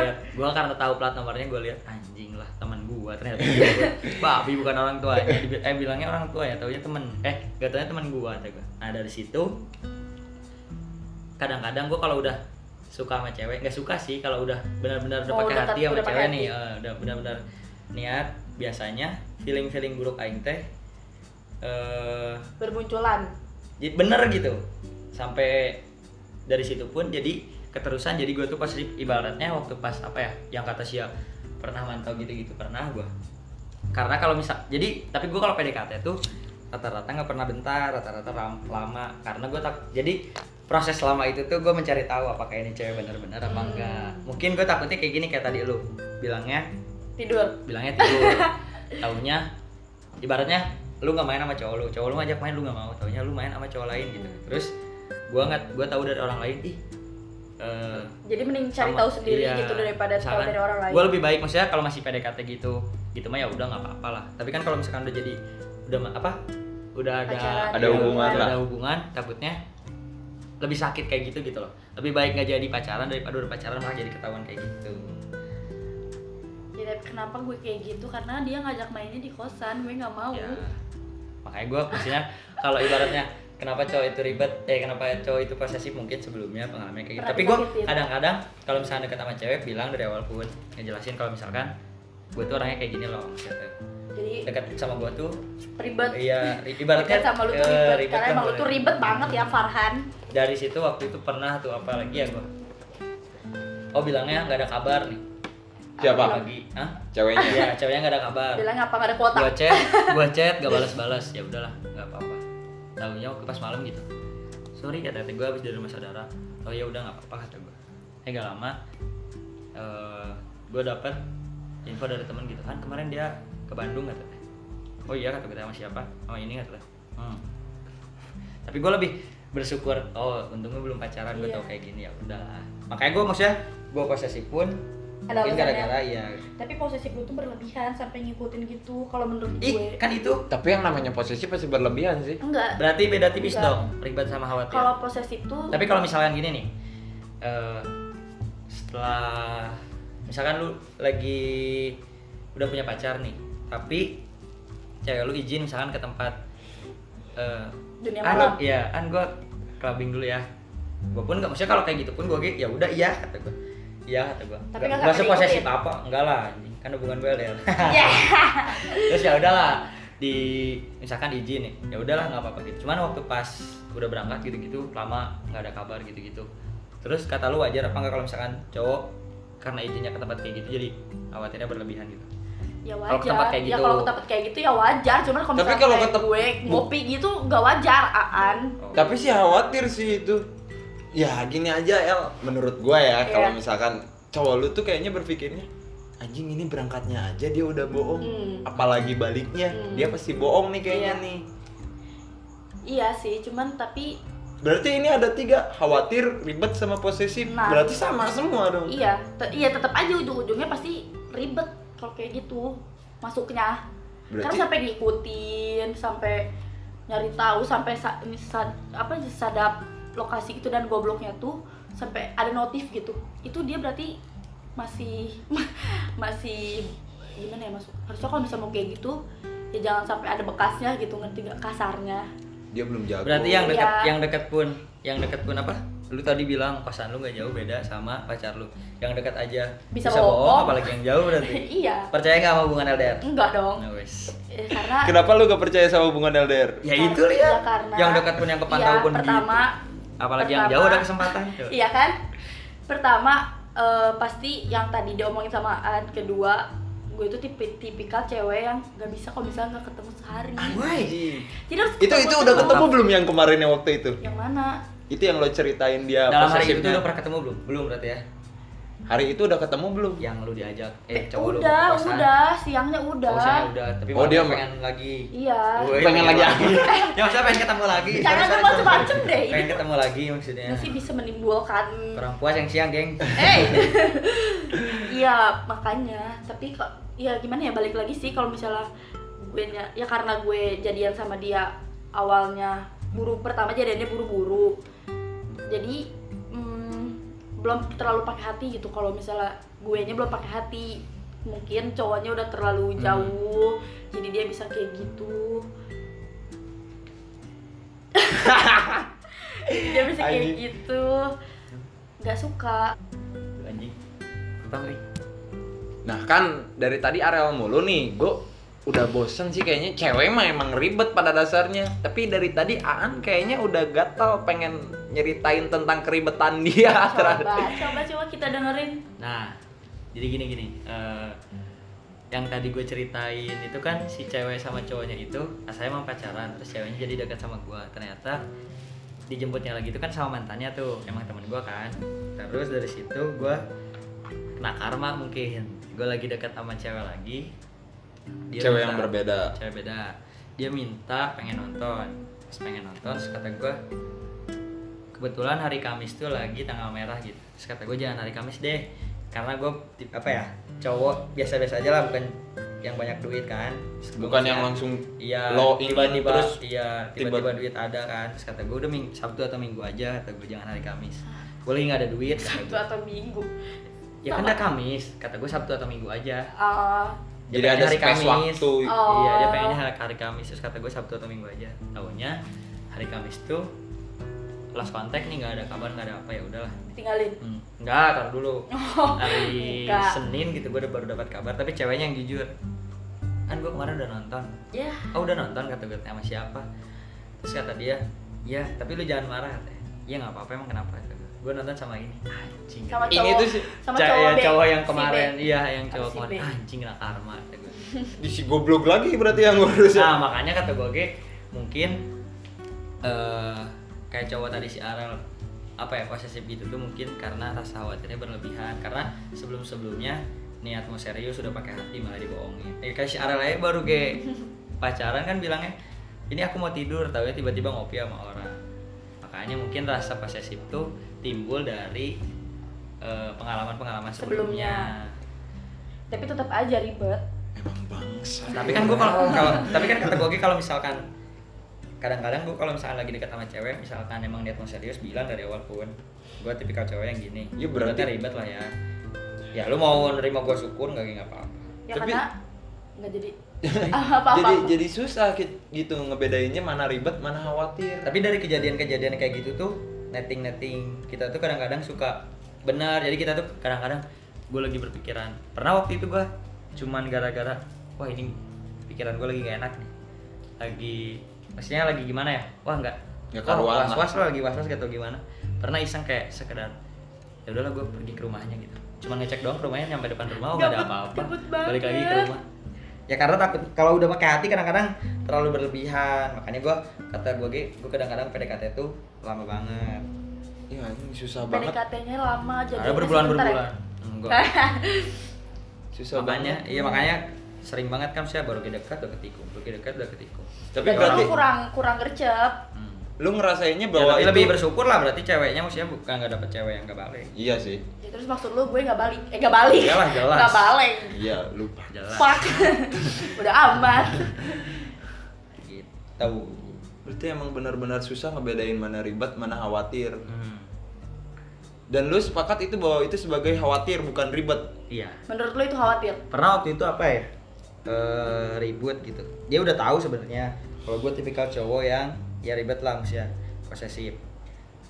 lihat gua kan karena tahu plat nomornya gua lihat anjing lah teman gua ternyata. Babi bukan orang tuanya. Dibi- Eh bilangnya orang tua ya, taunya temen Eh, gak taunya teman gua kata gua. Nah, dari situ kadang-kadang gua kalau udah suka sama cewek, nggak suka sih kalau udah benar-benar udah
Oh,
pakai
udah
hati
tak-
sama
udah pakai
cewek
hati.
nih, eh, udah benar-benar niat biasanya feeling-feeling buruk aing teh eh
Bermunculan.
jadi bener gitu sampai dari situ pun jadi keterusan jadi gue tuh pas di- ibaratnya waktu pas apa ya yang kata siap pernah mantau gitu-gitu pernah gue karena kalau misal jadi tapi gue kalau PDKT tuh rata-rata nggak pernah bentar rata-rata ram- lama karena gue tak jadi proses lama itu tuh gue mencari tahu apakah ini cewek benar-benar apa
Hmm.
enggak mungkin gue takutnya kayak gini kayak tadi lu bilangnya
tidur
bilangnya tidur taunya ibaratnya lu nggak main sama cowok lu cowok lu ngajak main lu nggak mau taunya lu main sama cowok lain gitu terus gua nggak gua tahu dari orang lain ih eh,
jadi mending cari
sama-
tahu sendiri
iya,
gitu daripada tahu
misalkan
dari orang lain
gua lebih baik maksudnya kalau masih PDKT gitu gitu mah ya udah nggak apa-apa lah tapi kan kalau misalkan udah jadi udah ma- apa udah ada
Pacaran,
Ada hubungan
ada,
lah.
hubungan takutnya lebih sakit kayak gitu gitu loh lebih baik nggak jadi pacaran daripada udah pacaran malah jadi ketahuan kayak gitu
Ya, tapi kenapa gue kayak gitu karena dia ngajak mainnya di kosan gue nggak mau
ya makanya gue maksudnya kalau ibaratnya kenapa cowok itu ribet eh kenapa cowok itu posesif mungkin sebelumnya pengalaman kayak gitu
Pernah ya?
tapi gue
disakitin.
kadang-kadang kalau misalnya deket sama cewek bilang dari awal pun ngejelasin kalau misalkan gue tuh orangnya kayak gini loh maksudnya.
jadi
deket sama gue tuh
ribet
iya ri- ibaratnya
Deket sama lu tuh
eh,
ribet, karena
kan
emang lu
boleh.
tuh ribet banget ya
Hmm.
Farhan
dari situ waktu itu pernah tuh apa lagi ya gue oh bilangnya nggak ada kabar nih
Siapa?
lagi ah
Ceweknya.
iya ceweknya nggak ada kabar
bilang apa nggak ada kuota
gua chat gua chat gak balas-balas ya udahlah nggak apa-apa tahunya waktu pas malam gitu sorry kata kata gue habis dari rumah saudara oh ya udah nggak apa-apa kata gue eh gak lama eh gue dapet info dari teman gitu kan kemarin dia ke Bandung kata dia. oh iya kata kita sama siapa sama ini kata dia. hmm. tapi gue lebih bersyukur oh untungnya belum pacaran gue
Iya.
tau kayak gini ya udahlah makanya gue maksudnya gue posesif pun
Ada
mungkin
alasannya.
gara-gara ya
tapi posesif lu tuh berlebihan sampai ngikutin gitu kalau menurut
ih
gue
kan itu
Tapi yang namanya posesif pasti berlebihan sih.
enggak
Berarti beda tipis
Enggak.
dong, ribet sama khawatir.
kalau posesif tuh
Iya. Tapi kalau misalkan gini nih, eh, setelah misalkan lu lagi udah punya pacar nih, tapi cewek lu izin misalkan ke tempat eh,
Dunia
"An,
malam."
Iya, an gua clubbing dulu ya. Gua pun nggak maksudnya kalau kayak gitu pun gua kayak ya udah iya kata gua. Iya kata gua.
Tapi
Nggak-
nggak
nggak
sampai
seposesif
diikutin.
apa, enggak lah. anjing. Kan hubungan gue LDR
ya
terus ya udahlah di misalkan izin nih ya udahlah nggak apa-apa gitu cuman waktu pas udah berangkat gitu-gitu lama nggak ada kabar gitu-gitu terus kata lu wajar apa nggak kalau misalkan cowok karena izinnya ke tempat kayak gitu jadi khawatirnya berlebihan gitu
ya
Kalau
wajar
ke tempat kayak
ya
gitu.
kalau ke tempat kayak gitu ya wajar cuman kalau
Tapi
misalnya
kalau
kayak
ke tem-
gue ngopi gitu nggak wajar aan
Oh.
Tapi sih khawatir sih itu. Ya gini aja El, menurut gua ya
Iya.
kalau misalkan cowok lu tuh kayaknya berpikirnya anjing ini berangkatnya aja dia udah bohong.
Hmm.
Apalagi baliknya,
Hmm.
dia pasti bohong nih kayaknya
Iya.
nih.
iya sih cuman tapi
Berarti ini ada tiga, khawatir, ribet sama posesif.
Nah.
Berarti sama semua dong.
iya te- iya tetap aja ujung-ujungnya pasti ribet kalau kayak gitu masuknya
Berarti-
karena sampai diikutin sampai nyari tahu sampai sa- ini sa- apa sadap lokasi itu dan gobloknya tuh sampai ada notif gitu itu dia berarti masih masih gimana ya masuk harusnya kalau bisa mau kayak gitu ya jangan sampai ada bekasnya gitu ngerti gak kasarnya
Dia belum jago.
berarti yang dekat
Iya.
yang dekat pun yang dekat pun apa lu tadi bilang kosan lu nggak jauh beda sama pacar lu yang dekat aja
Bisa bohong.
apalagi yang jauh berarti
iya Mm.
percaya nggak sama hubungan LDR
enggak dong
nah, wes.
Eh, karena
Kenapa lu gak percaya sama hubungan LDR?
ya itu lihat
karena
yang dekat pun yang kepantau
iya,
pun
pertama
gitu. apalagi yang jauh ada kesempatan
Iya kan? Pertama eh, pasti yang tadi diomongin sama An, kedua gue itu tipi tipikal cewek yang gak bisa kalau misalnya gak ketemu sehari.
Ah,
Anjing.
Jadi harus
Itu
ketemu
itu
terus.
udah ketemu belum yang kemarin yang waktu itu?
Yang mana?
Itu yang lo ceritain dia
dalam hari itu
posesifnya.
tuh udah pernah ketemu belum belum berarti ya
Hari itu udah ketemu belum?
yang lu diajak eh cowok lu
udah,
ke kosan.
udah, siangnya udah.
Oh, saya udah tapi
Oh,
malam
dia
pengen lagi
Iya.
Woi,
Pengen lagi.
ya maksudnya pengen ketemu lagi
Jangan
Sorry, sorry,
lu
sorry.
macem-macem deh, ini
pengen
tuh-
ketemu lagi maksudnya
Masih bisa menimbulkan.
orang puas yang siang geng
Eh. Iya, makanya. Tapi kok ya gimana ya balik lagi sih kalau misalnya gue nya- ya karena gue jadian sama dia awalnya buru pertama jadiannya buru-buru. Jadi mm, belum terlalu pakai hati gitu kalau misalnya gue nya belum pakai hati. Mungkin cowoknya udah terlalu
Hmm.
jauh. Jadi dia bisa kayak gitu. dia bisa kayak
Anjing.
gitu. Gak suka.
Gitu, anjing bang Ri
Nah kan dari tadi Arel mulu nih, gue udah bosen sih kayaknya cewek mah emang ribet pada dasarnya tapi dari tadi Aan kayaknya udah gatal pengen nyeritain tentang keribetan dia
coba coba coba kita dengerin
Nah, jadi gini gini. eh, yang tadi gue ceritain itu kan si cewek sama cowoknya itu asalnya emang pacaran terus ceweknya jadi dekat sama gue ternyata dijemputnya lagi itu kan sama mantannya tuh emang temen gue kan terus dari situ gue kena karma mungkin gue lagi dekat sama cewek lagi
Cewek yang berbeda.
cewek beda dia minta pengen nonton terus pengen nonton terus kata gue kebetulan hari Kamis tuh lagi tanggal merah gitu terus kata gue jangan hari Kamis deh karena gue tip- apa ya cowok biasa-biasa aja lah bukan yang banyak duit kan Terus
Bukan
gua
yang
maksudnya-
langsung
iya
low income
tiba-tiba
terus
iya tiba-tiba duit ada kan terus kata gue udah ming Sabtu atau Minggu aja kata gue jangan hari Kamis gue lagi nggak ada duit kata
Sabtu
gua.
atau minggu
ya kan udah Kamis kata gue Sabtu atau Minggu aja
Eh,
Jadi
Dia
ada
pengennya hari
space
Kamis.
waktu.
Oh.
Iya, dia pengennya hari, hari Kamis terus kata gue Sabtu atau Minggu aja. Tahunya hari Kamis tuh lost kontak nih nggak ada kabar nggak ada apa ya udahlah.
ditinggalin
Hmm, nggak kalau dulu hari
Oh, nggak.
Senin gitu gue udah baru dapat kabar tapi ceweknya yang jujur kan gue kemarin udah nonton
ya
oh udah nonton kata gue sama siapa terus kata dia ya tapi lu jangan marah katanya iya nggak apa-apa emang kenapa kata gue gue nonton sama ini anjing
sama
Ini
cowok
tuh si-
sama
Ca-
cowok,
ya,
B,
cowok yang
si B.
kemarin iya yang cowok
Sama si
kemarin
B.
anjing lah karma kata gue
di si goblok lagi berarti yang gua harus
nah makanya kata gue Ge, mungkin eh kayak cowok tadi si Arel apa ya posesif gitu tuh mungkin karena rasa khawatirnya berlebihan karena sebelum sebelumnya niat mau serius sudah pakai hati malah dibohongin eh, kayak si Arel aja baru ge pacaran kan bilangnya ini aku mau tidur tahunya tiba-tiba ngopi sama orang makanya mungkin rasa posesif tuh timbul dari eh, pengalaman-pengalaman sebelumnya.
Sebelumnya. tapi tetap aja ribet
emang bangsa
tapi kan gue kalau kalau tapi kan kata gue kalau misalkan kadang-kadang gue kalau misalkan lagi dekat sama cewek misalkan emang niat mau serius bilang dari awal pun gue tipikal cewek yang gini
Ya, berarti-
Ibaratnya ribet lah ya ya lu mau nerima gue syukur nggak nggak apa-apa
ya
Tapi-
karena nggak jadi apa apa
jadi jadi susah ki- gitu ngebedainnya mana ribet mana khawatir
tapi dari kejadian-kejadian kayak gitu tuh netting netting kita tuh kadang-kadang suka benar jadi kita tuh kadang-kadang gue lagi berpikiran pernah waktu itu gue cuman gara-gara wah ini pikiran gue lagi gak enak nih lagi maksudnya lagi gimana ya wah nggak
Nggak
wah,
karuan lah.
was-was lo lagi was-was gitu gimana pernah iseng kayak sekedar ya udahlah gue pergi ke rumahnya gitu cuman ngecek doang ke rumahnya nyampe depan rumah oh nggak ada
Gabut-
apa-apa
gabut
balik lagi ke
banget.
rumah ya karena takut kalau udah pakai hati kadang-kadang terlalu berlebihan makanya gua kata gua gue gue kadang-kadang PDKT itu lama banget
ya ini susah banget
PDKT-nya lama jadi ya.
ada berbulan-berbulan enggak
susah
ya? makanya
banget
iya makanya sering banget kan saya baru ke dekat udah ketikung baru ke dekat udah ketikung
tapi
tapi
berarti
Ya, kurang kurang gercep
hmm.
lu ngerasainnya
Ya,
bahwa
tapi
itu
lebih bersyukur lah berarti ceweknya maksudnya bukan nggak dapet cewek yang nggak balik
iya sih
ya, terus maksud lu gue nggak balik eh nggak balik
Iyalah, jelas.
nggak balik
iya lupa
jelas
fuck udah amat
gitu
berarti emang benar-benar susah ngebedain mana ribet mana khawatir
hmm.
dan lu sepakat itu bahwa itu sebagai khawatir bukan ribet
iya
menurut lu itu khawatir
pernah waktu itu apa ya Eh, ribut gitu dia udah tahu sebenarnya kalau gue tipikal cowok yang ya ribet lah maksudnya posesif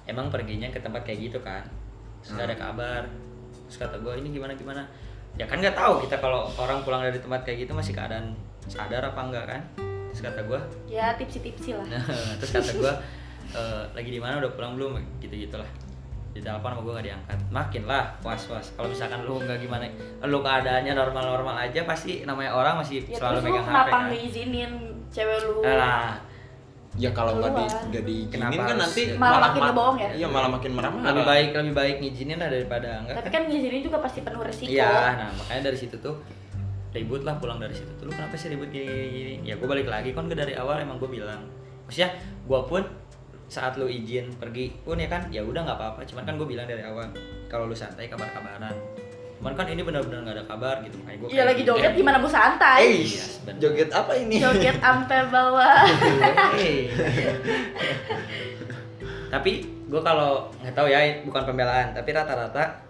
emang perginya ke tempat kayak gitu kan terus nggak ada kabar terus kata gue ini gimana gimana ya kan nggak tahu kita kalau orang pulang dari tempat kayak gitu masih keadaan sadar apa enggak kan terus kata gue
ya tipsi-tipsi lah
Nah, terus kata gue lagi di mana udah pulang belum gitu gitulah di telepon sama gue gak diangkat makin lah was was kalau misalkan lu nggak gimana lu keadaannya normal normal aja pasti namanya orang masih
ya
selalu
terus lu
megang hp
kenapa
kan
ngeizinin cewek lu
Alah,
ya kalau nggak di
Keluar.
nggak diizinin
Kenapa
kan
harus-
nanti
Malah makin
ma-
ngebohong ya?
iya malah makin merah
lebih baik lebih baik ngizinin lah daripada enggak
tapi kan ngizinin juga pasti penuh resiko
Iya, nah makanya dari situ tuh ribut lah pulang dari situ tuh lu kenapa sih ribut gini, gini, gini? ya gue balik lagi kan gue dari awal emang gue bilang maksudnya gue pun saat lu izin pergi pun ya kan ya udah nggak apa-apa cuman kan gue bilang dari awal kalau lu santai kabar-kabaran cuman kan ini benar-benar nggak ada kabar gitu makanya gue
iya lagi joget gimana mau santai
eh
Iya, Eh. sebenarnya.
joget apa ini
joget sampai bawah
tapi gue kalau nggak tahu ya bukan pembelaan tapi rata-rata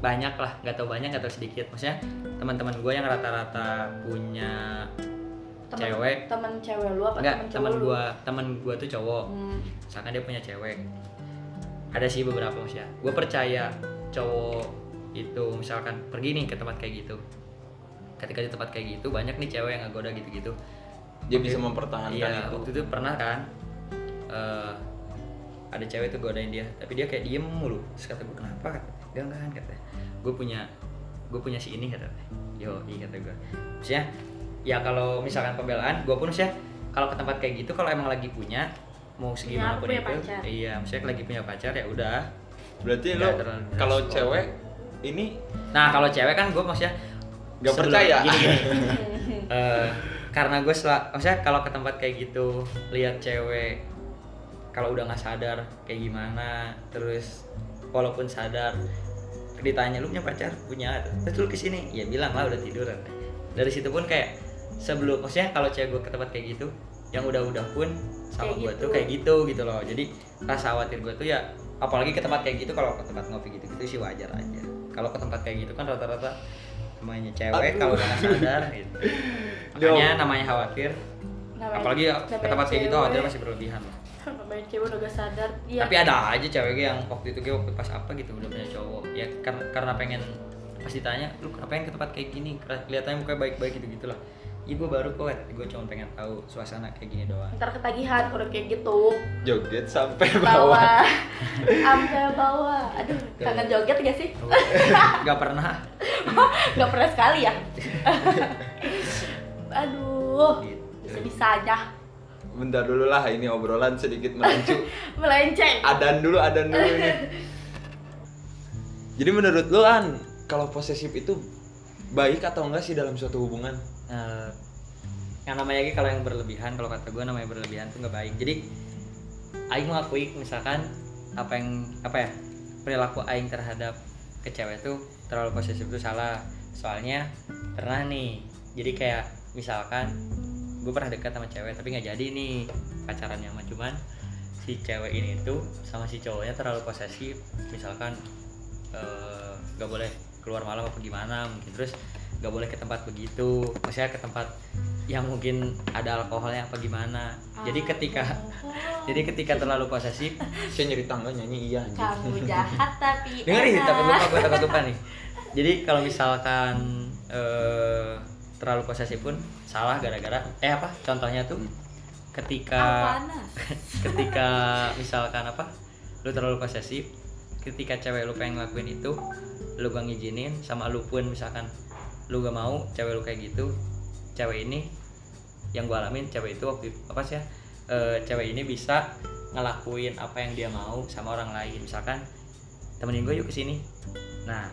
banyak lah nggak tahu banyak nggak tahu sedikit maksudnya teman-teman gue yang rata-rata punya
temen,
cewek
temen cewek lu apa
nggak
temen
teman
cowok lu?
gue teman gue tuh cowok
Hmm.
misalkan dia punya cewek ada sih beberapa maksudnya gue percaya cowok itu misalkan pergi nih ke tempat kayak gitu ketika di tempat kayak gitu banyak nih cewek yang ngegoda gitu-gitu
dia bisa mempertahankan
Iya,
itu
waktu itu pernah kan eh, ada cewek tuh godain dia, tapi dia kayak diem mulu. Terus kata gue kenapa? Kata, Enggak enggak kan," katanya. Gue punya gue punya si ini kata yo iya kata gue maksudnya ya kalau misalkan pembelaan gue pun sih kalau ke tempat kayak gitu kalau emang lagi punya mau
Punya,
segimana
Iya, aku
pun
punya
itu
pacar.
iya maksudnya lagi punya pacar ya udah
Berarti
Nggak
lo
terlalu
kalau
respon.
cewek ini
nah kalau cewek kan gue maksudnya
Nggak
sebelum-
percaya.
gini, gini. Eh, karena gue setelah maksudnya kalau ke tempat kayak gitu lihat cewek kalau udah nggak sadar kayak gimana terus walaupun sadar ditanya lu punya pacar punya nggak?" terus lu kesini ya bilang lah udah tiduran dari situ pun kayak sebelum maksudnya kalau cewek gue ke tempat kayak gitu yang udah-udah pun sama
Kayak
gue
gitu.
tuh kayak gitu gitu loh jadi rasa khawatir gue tuh ya apalagi ke tempat kayak gitu kalau ke tempat ngopi gitu gitu sih wajar aja kalau ke tempat kayak gitu kan rata-rata namanya
Aduh.
cewek kalau udah nggak sadar gitu makanya namanya khawatir
Namanya-
apalagi ke
namanya
tempat kayak gitu
Iya, cewek.
khawatir masih berlebihan lah
Namanya cewek udah gak sadar Iya
tapi ada aja cewek yang waktu itu gue waktu pas apa gitu udah punya cowok ya kar- karena pengen pas ditanya lu ngapain ke tempat kayak gini Kera- kelihatannya mukanya baik-baik gitu gitulah ya gue baru kok gue cuma pengen tahu suasana kayak gini doang
ntar ketagihan udah kayak gitu
joget sampai bawah.
bawah sampai bawah aduh kangen joget gak sih
nggak pernah
nggak pernah sekali ya aduh
gitu.
bisa bisa aja
Bentar dulu lah ini obrolan sedikit melanjut.
melenceng
adan dulu, adan dulu ini. Jadi menurut lu An, kalau posesif itu baik atau enggak sih dalam suatu hubungan?
Eh, yang namanya lagi kalau yang berlebihan kalau kata gue namanya berlebihan tuh nggak baik jadi Aing mengakui misalkan apa yang apa ya perilaku Aing terhadap ke cewek tuh terlalu posesif itu salah soalnya pernah nih jadi kayak misalkan gue pernah dekat sama cewek tapi nggak jadi nih pacarannya sama cuman si cewek ini tuh sama si cowoknya terlalu posesif misalkan eh, nggak boleh keluar malam apa gimana mungkin terus nggak boleh ke tempat begitu maksudnya ke tempat yang mungkin ada alkoholnya apa gimana
Oh.
jadi ketika
Ah.
jadi ketika terlalu posesif
saya nyerita nggak nyanyi iya anjing.
kamu jahat tapi
dengerin
enak.
takut lupa gue takut lupa nih jadi kalau misalkan eh, terlalu posesif pun salah gara-gara eh apa contohnya tuh ketika
Apaan, Nas?
ketika misalkan apa lu terlalu posesif ketika cewek lu pengen ngelakuin itu lu gak ngizinin sama lu pun misalkan lu gak mau cewek lu kayak gitu cewek ini yang gua alamin cewek itu waktu apa sih ya eh, cewek ini bisa ngelakuin apa yang dia mau sama orang lain misalkan temenin gue yuk kesini nah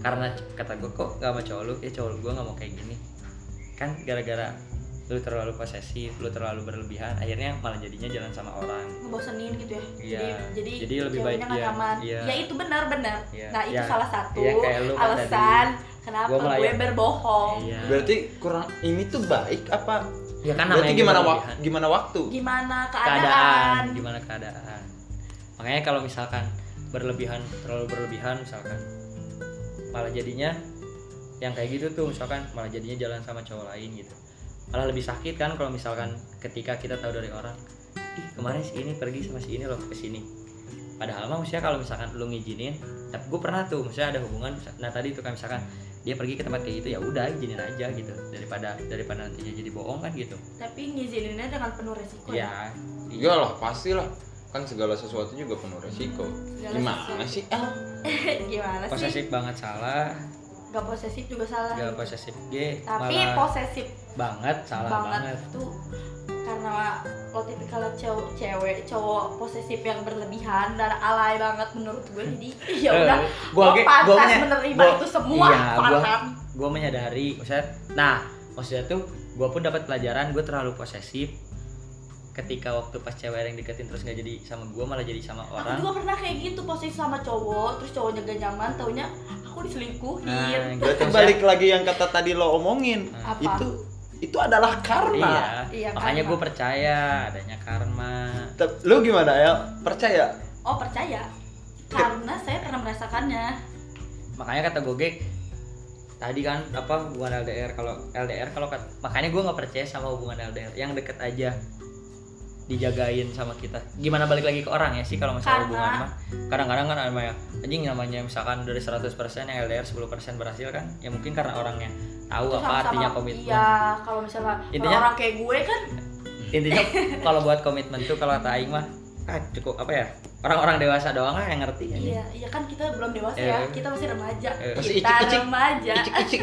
karena c- kata gue kok gak sama cowok lu ya cowok gue gak mau kayak gini kan gara-gara lu terlalu posesif lu terlalu berlebihan akhirnya malah jadinya jalan sama orang
ngebosenin gitu ya
Iya.
jadi
Jadi lebih
ceweknya
baik
nggak
dia.
nyaman
Iya.
ya itu benar benar
Iya.
nah itu
Iya.
salah satu
Iya, kayak lu kan
alasan kenapa
Gua
gue
melayan.
berbohong
iya
Berarti kurang ini tuh baik apa?
ya kan
Berarti
namanya
gimana
juga
wak
pilihan.
gimana waktu?
gimana
Iya. keadaan
keadaan,
gimana keadaan makanya kalau misalkan berlebihan terlalu berlebihan misalkan malah jadinya yang kayak gitu tuh misalkan malah jadinya jalan sama cowok lain gitu malah lebih sakit kan kalau misalkan ketika kita tahu dari orang ih kemarin si ini pergi sama si ini loh ke sini padahal mah maksudnya kalau misalkan lu ngizinin tapi gue pernah tuh maksudnya ada hubungan nah tadi itu kan misalkan dia pergi ke tempat kayak gitu ya udah izinin aja gitu daripada daripada nantinya jadi bohong kan gitu
tapi ngizininnya dengan penuh resiko ya.
ya
Iya lah pastilah kan segala sesuatu juga penuh resiko.
Segala
Gimana
sesuatu.
sih El?
gimana sih
posesif banget salah
gak posesif juga salah
gak posesif G
tapi
malah
posesif
banget salah
banget,
banget,
tuh karena lo tipikal cewek, cewek cowok posesif yang berlebihan dan alay banget menurut gue jadi ya udah
Eh,
gue
ge-
pantas
menya-
menerima
gua-
itu semua
iya, gua-
paham
gue menyadari maksudnya nah maksudnya tuh gue pun dapat pelajaran gue terlalu posesif ketika waktu pas cewek yang deketin terus nggak jadi sama gue malah jadi sama
aku
orang
juga pernah kayak gitu posesif sama cowok terus cowoknya gak nyaman taunya aku diselingkuhin
Berarti
gitu, maksudnya-
balik lagi yang kata tadi lo omongin.
Nah,
apa
Itu itu adalah
iya
karma.
Iya,
makanya
karma.
gue percaya adanya karma
Tep- Lu gimana El? Percaya?
oh percaya karena saya pernah merasakannya
makanya kata gue Ge, tadi kan apa hubungan LDR kalau LDR kalau kat- makanya gue nggak percaya sama hubungan LDR yang deket aja dijagain sama kita gimana balik lagi ke orang ya sih kalau masalah
Karena-
hubungan mah kadang-kadang kan namanya anjing namanya misalkan dari 100% yang LDR 10% berhasil kan ya mungkin karena orangnya tahu
Terus
apa
sama-sama-
artinya komitmen
iya kalau misalnya
Intinya-
orang kayak gue kan
intinya kalau buat komitmen tuh kalau kata Aing mah ah cukup apa ya orang-orang dewasa doang lah yang ngerti kan
Iya, iya kan kita belum dewasa
Iya.
ya, kita masih remaja.
Iya.
Masih
Kita
icik-icik.
remaja.
icik-icik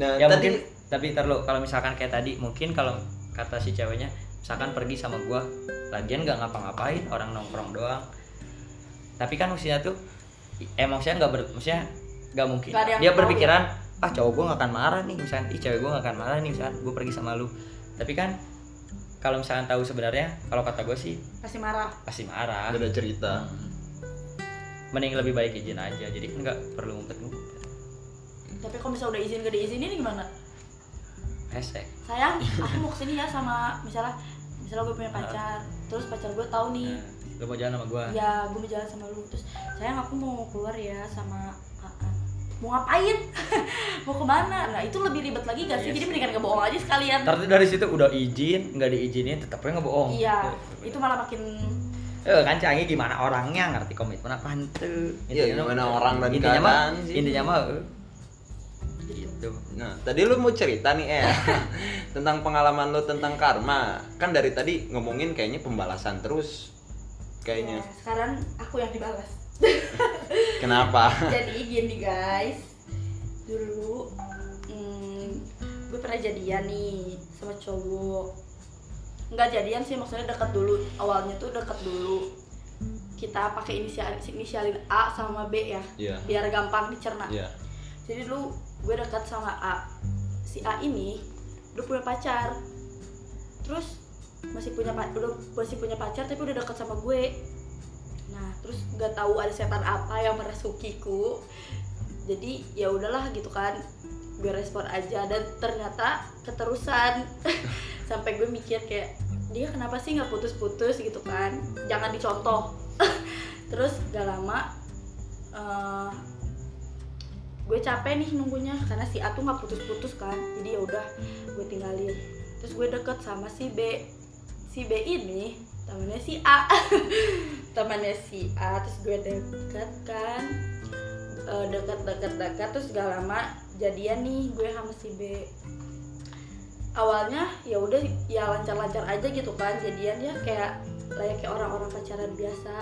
nah
ya
tadi
mungkin tapi ntar lu, kalau misalkan kayak tadi mungkin kalau kata si ceweknya misalkan pergi sama gua lagian nggak ngapa-ngapain orang nongkrong doang tapi kan maksudnya tuh i- emosinya nggak ber maksudnya nggak mungkin
Nggak ada yang
dia
tahu. ya?
berpikiran ah cowok gua nggak akan marah nih misalkan ih cewek gua nggak akan marah nih misalkan gua pergi sama lu tapi kan kalau misalkan tahu sebenarnya kalau kata gue sih
Pasti marah.
pasti marah
beda cerita
mending lebih baik izin aja jadi kan nggak perlu ngumpet-ngumpet
Tapi kalau misalnya udah izin gak diizinin gimana?
Hesek.
Sayang, aku mau kesini ya sama misalnya misalnya gue punya pacar, terus pacar gue tahu nih,
Nah, lu mau jalan sama gua
ya gue mau jalan sama lu terus sayang aku mau keluar ya sama Aan mau ngapain mau kemana nah itu lebih ribet lagi gak
Iya
sih jadi
sih.
mendingan nggak bohong aja sekalian
Ntar tuh dari situ udah izin, nggak diizinin tetap aja ngebohong.
iya itu malah makin
Eh, kan canggih gimana orangnya ngerti komitmen apa hantu. gitu ya,
Iya, gimana orang dan
intinya mah,
keadaan sih.
Intinya mah eh,
gitu
gitu.
Nah, tadi lu mau cerita nih, eh, tentang pengalaman lu tentang karma. Kan dari tadi ngomongin kayaknya pembalasan terus. Kayaknya.
Ya, sekarang aku yang dibalas
Kenapa?
jadi gini guys dulu hmm, gue pernah jadian nih sama cowok nggak jadian sih maksudnya deket dulu awalnya tuh deket dulu kita pakai inisial inisialin A sama B ya
Iya.
biar gampang dicerna
Iya.
jadi dulu gue dekat sama A si A ini udah punya pacar terus masih punya pa- udah masih punya pacar tapi udah dekat sama gue nah terus nggak tahu ada setan apa yang merasukiku jadi ya udahlah gitu kan gue respon aja dan ternyata keterusan sampai gue mikir kayak dia kenapa sih nggak putus-putus gitu kan jangan dicontoh terus gak lama eh, gue capek nih nunggunya karena si A tuh nggak putus-putus kan jadi ya udah gue tinggalin terus gue deket sama si B si B ini temannya si A temannya si A terus gue deket kan Eh, deket deket deket terus gak lama jadian nih gue sama si B awalnya ya udah ya lancar-lancar aja gitu kan jadiannya kayak layaknya orang-orang pacaran biasa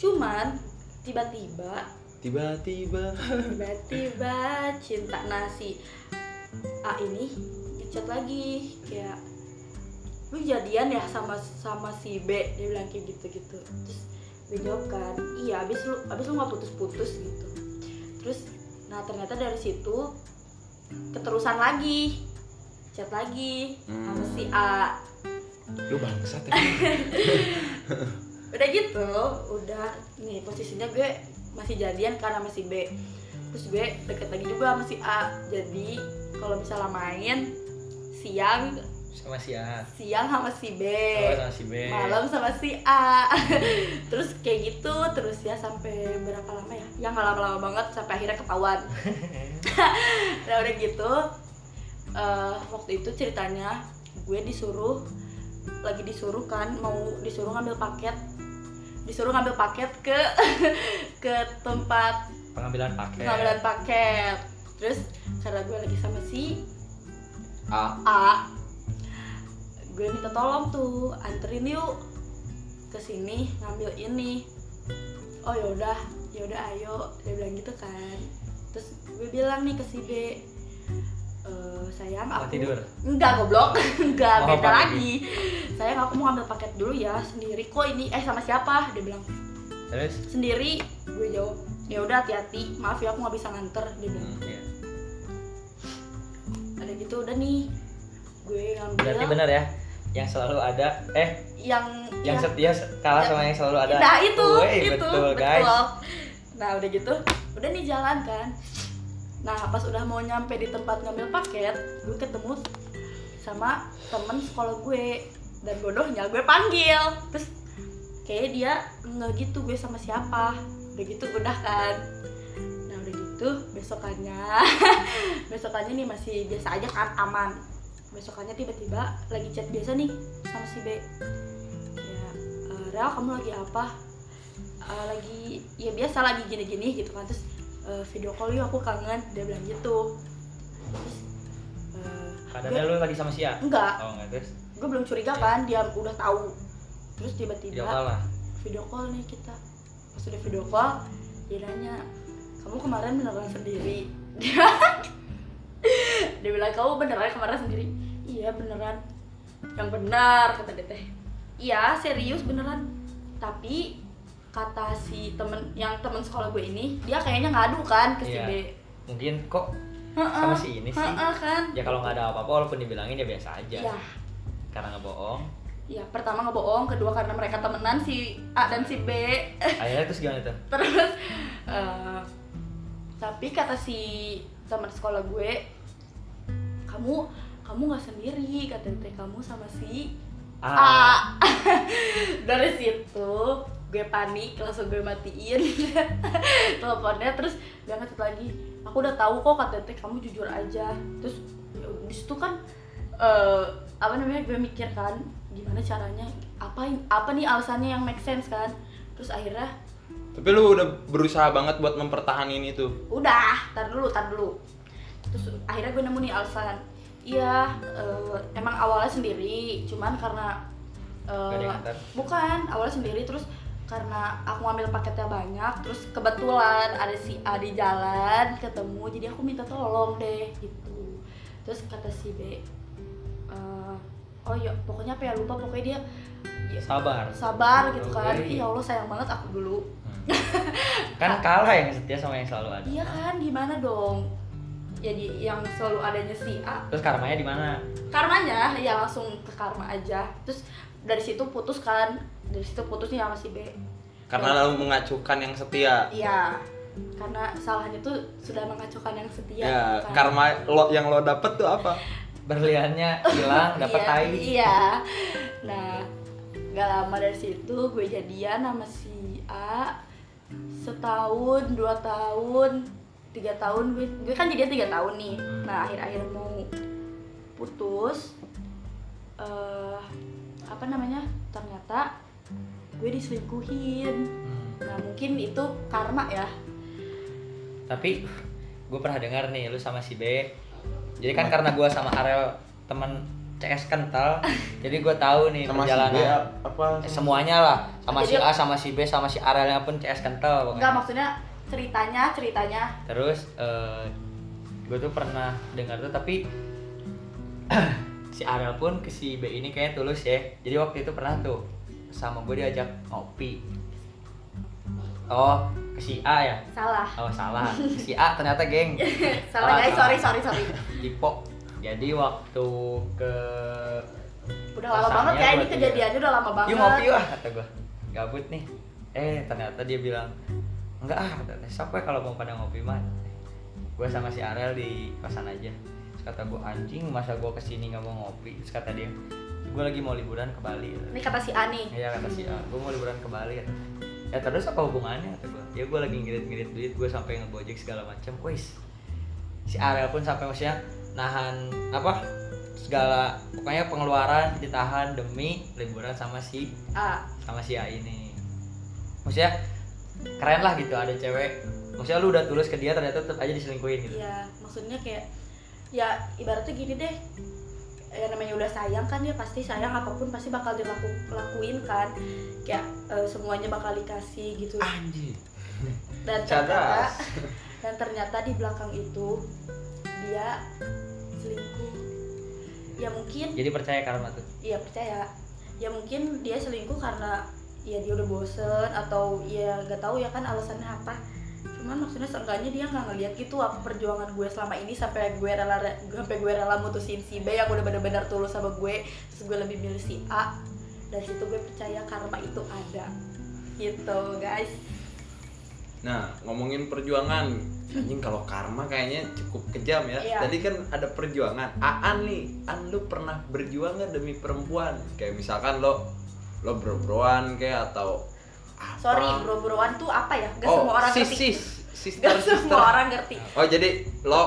cuman tiba-tiba
Tiba-tiba.
tiba-tiba cinta nasi A ini ngechat lagi kayak lu jadian ya sama sama si B dia bilang kayak gitu gitu terus gue jawab kan iya abis lu abis lu nggak putus-putus gitu terus nah ternyata dari situ keterusan lagi chat lagi sama
Hmm.
si A
Lu bangsat ya.
udah gitu udah nih posisinya gue masih jadian karena masih B terus gue deket lagi juga sama si A jadi kalau misalnya main siang
Sama si A.
siang sama si B
Sama, sama si B.
Eh, malam sama si A terus kayak gitu terus ya sampai berapa lama ya yang nggak lama-lama banget sampai akhirnya ketahuan nah udah gitu eh, waktu itu ceritanya gue disuruh lagi disuruh kan mau disuruh ngambil paket disuruh ngambil paket ke ke tempat
Pengambilan paket.
pengambilan paket terus karena gue lagi sama si
Ah,
A gue minta tolong tuh anterin yuk ke sini ngambil ini oh yaudah yaudah ayo dia bilang gitu kan terus gue bilang nih ke si B "Eh, sayang
Mau
aku
tidur.
enggak goblok enggak
Mau
beda
apa
lagi sayang aku mau ngambil paket dulu ya sendiri kok ini eh sama siapa dia bilang
Terus
sendiri gue jawab ya udah hati-hati maaf ya aku nggak bisa nganter dia bilang
hmm.
ya.
ada gitu udah nih gue
berarti
ngambil
benar ya yang selalu ada eh
yang
yang
ya.
setia kalah
Ya.
sama yang selalu ada.
Nah itu,
Woi,
itu
betul guys.
Nah udah gitu, udah nih jalan kan. Nah pas udah mau nyampe di tempat ngambil paket, gue ketemu sama temen sekolah gue dan bodohnya gue panggil. Terus kayaknya dia nggak gitu gue sama siapa. Udah gitu udah kan. Nah udah gitu besokannya, besokannya nih masih biasa aja kan aman. Besokannya tiba-tiba lagi chat biasa nih sama si B. Ya, "Eh, Rel kamu lagi apa? "Eh, lagi ya biasa lagi gini-gini gitu kan terus "Eh, video call yuk aku kangen dia bilang gitu terus eh,
Padahal lu lagi sama si A.
enggak
Oh, enggak terus.
gue belum curiga kan dia udah tahu terus
Video
tiba-tiba
call lah.
video call nih kita pas udah video call dia nanya kamu kemarin beneran sendiri dia dia bilang kamu beneran kemarin sendiri iya beneran yang benar kata dia teh iya serius beneran tapi kata si temen yang temen sekolah gue ini dia kayaknya ngadu kan ke si
Iya.
B
Mungkin kok
Heeh.
sama si ini sih.
Heeh, kan
Ya kalau nggak ada apa-apa walaupun dibilangin ya biasa aja.
Iya.
Karena nggak bohong.
ya pertama ngebohong kedua karena mereka temenan si A dan si B
Akhirnya terus gimana tuh?
terus eh, tapi kata si teman sekolah gue kamu kamu nggak sendiri kata teh kamu sama si
Ah,
A dari situ gue panik langsung gue matiin teleponnya terus gak ngecat lagi aku udah tahu kok kata teh kamu jujur aja terus ya, di situ kan eh, apa namanya gue mikir kan gimana caranya apa apa nih alasannya yang make sense kan terus akhirnya
Tapi lu udah berusaha banget buat mempertahankan itu.
udah tar dulu tar dulu terus akhirnya gue nemu nih alasan iya eh, emang awalnya sendiri cuman karena eh,
Gak ada yang nganter.
bukan awalnya sendiri terus karena aku ngambil paketnya banyak terus kebetulan ada si A di jalan ketemu jadi aku minta tolong deh gitu terus kata si B eh, oh iya pokoknya apa ya lupa pokoknya dia ya,
sabar.
sabar gitu kan
Oke.
Ih, ya Allah sayang banget aku dulu
Kan kalah yang setia sama yang selalu ada.
Iya kan, gimana dong? Jadi yang selalu adanya si A,
Terus karmanya di mana?
karmanya ya langsung ke karma aja. Terus dari situ putus kan, dari situ putusnya sama si B.
Karena lu mengacuhkan yang setia.
Iya, karena salahnya tuh sudah mengacaukan yang setia.
Iya,
Ya,
kan?
karma lo yang lo dapet tuh apa?
Berliannya hilang, dapat
Iya,
tai.
Iya. Nah, gak lama dari situ gue jadian sama si A setahun, dua tahun, tiga tahun gue, gue kan jadian tiga tahun nih.
Hmm.
Nah akhir-akhir mau putus, eh apa namanya? Ternyata gue diselingkuhin.
Hmm.
Nah mungkin itu karma ya.
tapi gue pernah dengar nih lu sama si B jadi kan karena gue sama Arel teman CS kental jadi gue tahu nih
Sama si B
perjalanan
apa?
Eh, semuanya lah sama si
Jadi-
A sama si B sama si Arelnya pun CS kental
Enggak
pokoknya
maksudnya ceritanya ceritanya.
terus gue tuh pernah dengar tuh tapi si Arel pun ke si B ini kayaknya tulus ya jadi waktu itu pernah tuh sama gue diajak ngopi oh ke si A ya
Salah.
oh salah Ke si A ternyata geng
Salah
Salah,
guys,
Ah, salah.
sorry sorry sorry.
Dipo. Jadi waktu ke
Udah lama
Kosannya
banget ya ini
buat dia.
kejadiannya udah lama
yuk
banget.
Iya, ngopi wah kata gua gabut nih eh ternyata dia bilang enggak ah kata dia, sok we kalau mau pada ngopi mah gua sama si Arel di kosan aja terus kata gua anjing masa gua kesini nggak mau ngopi terus kata dia gua lagi mau liburan ke Bali
Ini kata si Ani.
Iya kata si A, gue mau liburan ke Bali kata. Ya terus apa hubungannya kata gue? Ya gue lagi ngirit-ngirit duit, gue sampai ngebojek segala macam. Wis. Si Ariel pun sampai maksudnya nahan apa? Segala pokoknya pengeluaran ditahan demi liburan sama si
A.
sama si A ini. Maksudnya keren lah gitu ada cewek. Maksudnya lu udah tulus ke dia ternyata tetap aja diselingkuhin gitu.
Iya, maksudnya kayak ya ibaratnya gini deh. Ya namanya udah sayang kan ya pasti sayang apapun pasti bakal dilakuin kan. Kayak eh, semuanya bakal dikasih gitu.
Ah,
Anjir.
Dan
Cadas.
ternyata dan ternyata di belakang itu dia selingkuh. Ya mungkin
Jadi percaya karma tuh.
Iya percaya. Ya mungkin dia selingkuh karena ya dia udah bosen atau ya gak tahu ya kan alasannya apa. Cuman maksudnya seenggaknya dia nggak ngeliat gitu apa perjuangan gue selama ini sampai gue rela sampai gue rela mutusin si B yang udah benar-benar tulus sama gue terus gue lebih milih si A dari situ gue percaya karma itu ada gitu guys
Nah, ngomongin perjuangan, anjing kalau karma kayaknya cukup kejam ya.
Iya.
Tadi kan ada perjuangan. Aan nih, Aan lu pernah berjuang nggak demi perempuan? Kayak misalkan lo lo berbroan kayak atau apa?
sorry bro-broan tuh apa ya gak
oh,
semua orang
sis,
ngerti
sis, sister,
gak
sister.
semua orang ngerti
Oh, jadi lo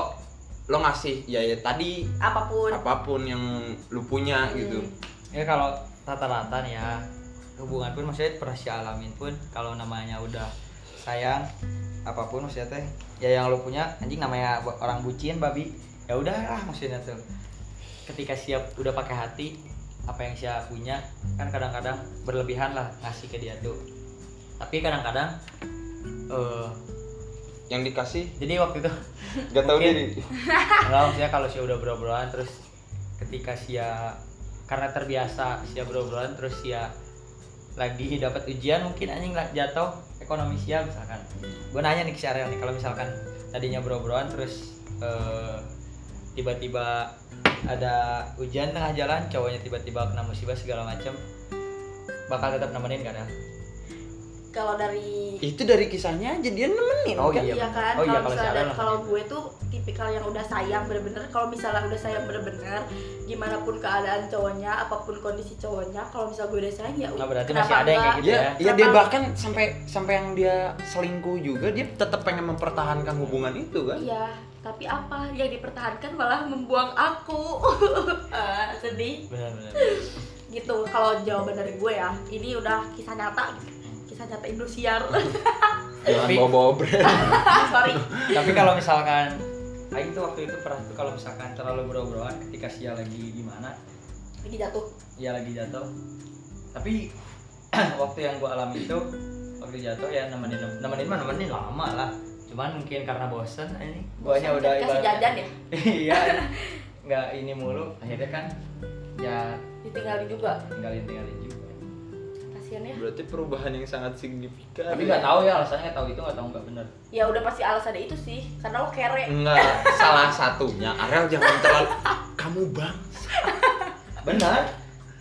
lo ngasih ya, ya tadi
apapun
apapun yang lu punya gitu.
Hmm.
ya kalau rata-rata nih ya hubungan pun maksudnya pernah si alamin pun kalau namanya udah sayang apapun maksudnya teh ya yang lo punya anjing namanya bu- orang bucin babi ya udah lah maksudnya tuh ketika siap udah pakai hati apa yang siap punya kan kadang-kadang berlebihan lah ngasih ke dia tuh tapi kadang-kadang eh,
yang dikasih
jadi waktu itu
gak tahu diri
Mungkin. kalau misalnya kalau Sia udah berobrolan terus ketika Sia karena terbiasa Sia berobrolan terus Sia lagi dapat ujian mungkin anjing lah jatuh ekonomi Sia misalkan gue nanya nih ke si Ariel nih kalau misalkan tadinya berobrolan terus eh, tiba-tiba ada hujan tengah jalan cowoknya tiba-tiba kena musibah segala macam bakal tetap nemenin kan ya?
kalau dari
itu dari kisahnya aja dia nemenin
Oh,
kan?
iya,
iya kan
oh iya,
kalau
kalau si
misalnya
Ariel
dan kalau
nemenin.
gue tuh tipikal yang udah sayang bener-bener kalau misalnya udah sayang bener-bener gimana pun keadaan cowoknya apapun kondisi cowoknya kalau misalnya gue udah sayang ya
Nah, berarti
kenapa
masih ada yang kayak
enggak?
gitu
Iya,
ya.
iya dia bahkan sampai sampai yang dia selingkuh juga dia tetap pengen mempertahankan hubungan itu
gitu?
kan?
iya tapi apa yang dipertahankan malah membuang aku Ah, sedih
Benar-benar.
gitu kalau jawaban dari gue ya ini udah kisah nyata kisah nyata Indosiar
Jangan
Tapi-
bawa-bawa brand.
sorry
tapi kalau misalkan Aing tuh waktu itu pernah tuh kalau misalkan terlalu berobrolan ketika Sia lagi gimana
lagi jatuh
ya lagi jatuh tapi waktu yang gua alami itu waktu jatuh ya nemenin nemenin mah nemenin lama lah cuman mungkin karena bosen eh, Oh, ini guanya udah
kasih
ibaratnya-
jajan ya
iya nggak ini mulu akhirnya kan ya
ditinggalin juga
tinggalin tinggalin juga
kasian ya
Berarti perubahan yang sangat signifikan.
tapi nggak tahu ya alasannya nggak tahu itu nggak tahu nggak bener
ya udah pasti alasannya itu sih karena lo kere
Enggak, salah satunya Ariel jangan terlalu kamu bang.
bener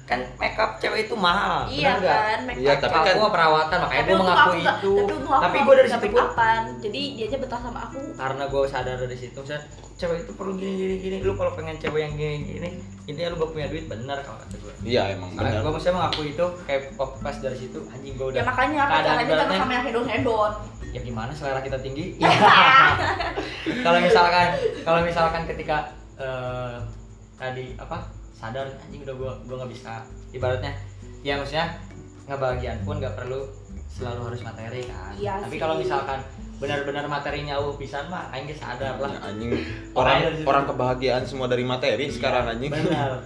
kan makeup cewek itu mahal
iya
bener nggak?
kan make
Iya,
up.
tapi
Kalau
kan-
aku mah perawatan makanya gue
untuk
mengakui
aku nggak-
itu
tapi untuk aku
tapi
nggak
gue dari
bisa
situ
make
pun
upan. jadi dia aja betah sama aku
karena gue sadar dari situ misalnya cewek itu perlu gini gini gini lu kalau pengen cewek yang gini gini intinya lu gak punya duit bener kalau kata gue
Iya emang
karena
benar.
gue maksudnya mengakui itu kayak pop pas dari situ anjing gue udah
ya makanya
keadaan
pacarannya jangan
ibaratnya-
sama yang hedon hedon
ya gimana selera kita tinggi
Ya.
kalau misalkan kalau misalkan ketika eh, tadi apa sadar anjing udah gua gua nggak bisa ibaratnya ya maksudnya ngebahagian pun nggak perlu selalu harus materi kan
Iya
tapi
sih.
kalau misalkan benar-benar materinya uh pisan mah aing ge sadar lah
Ya, anjing Iya. orang
Makanya dari situ.
orang kebahagiaan semua dari materi sekarang anjing.
benar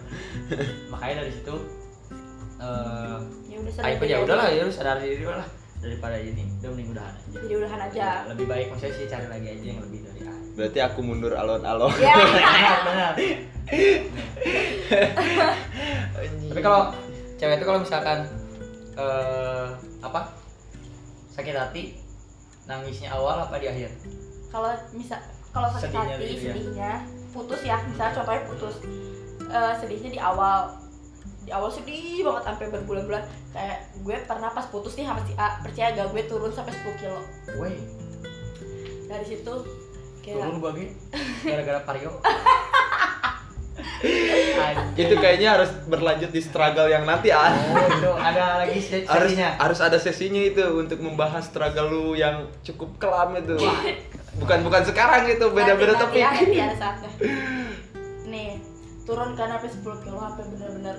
makanya dari situ eh aing
ya udah sering
pun ya udahlah ya udah sadar diri lah daripada ini udah mending udahan aja
jadi udahan aja
lebih baik maksudnya sih cari lagi aja yang lebih dari aing
Berarti aku mundur alon-alon.
ya
benar benar tapi kalau cewek itu kalau misalkan eh apa sakit hati nangisnya awal apa di akhir
kalau misal kalau sakit
Sedihnya
hati
gitu ya.
sedihnya putus ya misalnya contohnya putus Eh, sedihnya di awal di awal sedih banget sampai berbulan-bulan kayak gue pernah pas putus nih sama si A percaya gak gue turun sampai 10 kilo
woi
dari situ kayak
turun bagi gara-gara pario Anjing.
Itu kayaknya harus berlanjut di struggle yang nanti ah.
oh itu ada lagi se-
Harus
sesinya
harus ada sesinya itu untuk membahas struggle lu yang cukup kelam itu. Bukan bukan sekarang itu, beda-beda
nanti-
topik.
nanti ya, nanti ada saatnya nih turun kan sampai 10 kilo sampai bener-bener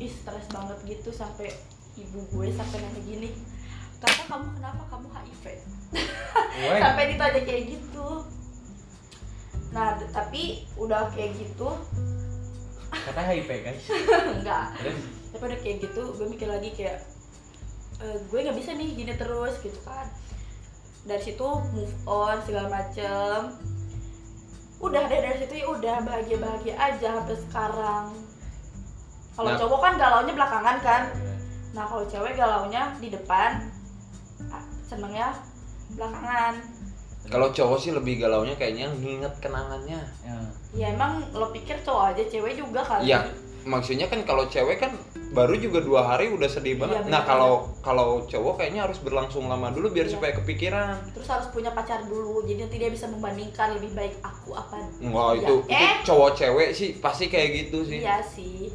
ih stres banget gitu sampai ibu gue sampai nanya gini kata kamu kenapa kamu HIV
woi
sampai ditanya kayak gitu nah d- tapi udah kayak gitu
katanya HIV guys
enggak
terus
tapi udah kayak gitu gue mikir lagi kayak "Eh, gue nggak bisa nih gini terus gitu kan dari situ move on segala macem udah deh dari situ ya udah bahagia bahagia aja sampai sekarang
Nah.
kalau cowok kan galaunya belakangan kan nah kalau cewek galaunya di depan ah, senengnya belakangan
Kalau cowok sih lebih galaunya kayaknya nginget kenangannya.
ya.
ya emang lo pikir cowok aja cewek juga kali
Iya, maksudnya kan kalau cewek kan baru juga dua hari udah sedih banget.
Iya,
nah
bener.
kalau kalau cowok kayaknya harus berlangsung lama dulu biar
Iya.
supaya kepikiran.
terus harus punya pacar dulu jadi nanti dia bisa membandingkan lebih baik aku apa
Wah
Iya.
itu, itu
Eh.
cowok cewek sih pasti kayak gitu sih.
iya sih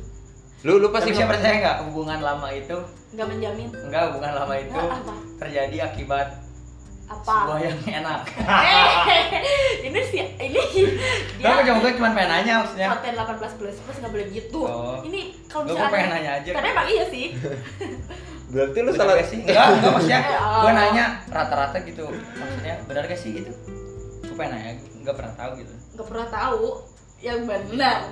Lu lu pasti
pasti siapa percaya nggak hubungan lama itu
nggak menjamin
enggak hubungan lama itu
Nah, apa
terjadi akibat
apa
sebuah yang enak
Eh, ini sih ini
Kenapa
dia
cuma gue cuma pengen nanya maksudnya?
konten 18 plus plus nggak boleh gitu
Oh.
ini kalau
Gue gue pengen
misalnya
nanya aja.
karena emang iya sih
Berarti lu
Bener
salah
gak sih? Enggak, enggak maksudnya.
Eh, oh.
Gue nanya rata-rata gitu. Maksudnya benar gak sih gitu? Gue pengen nanya, enggak pernah tahu gitu.
nggak pernah tahu yang benar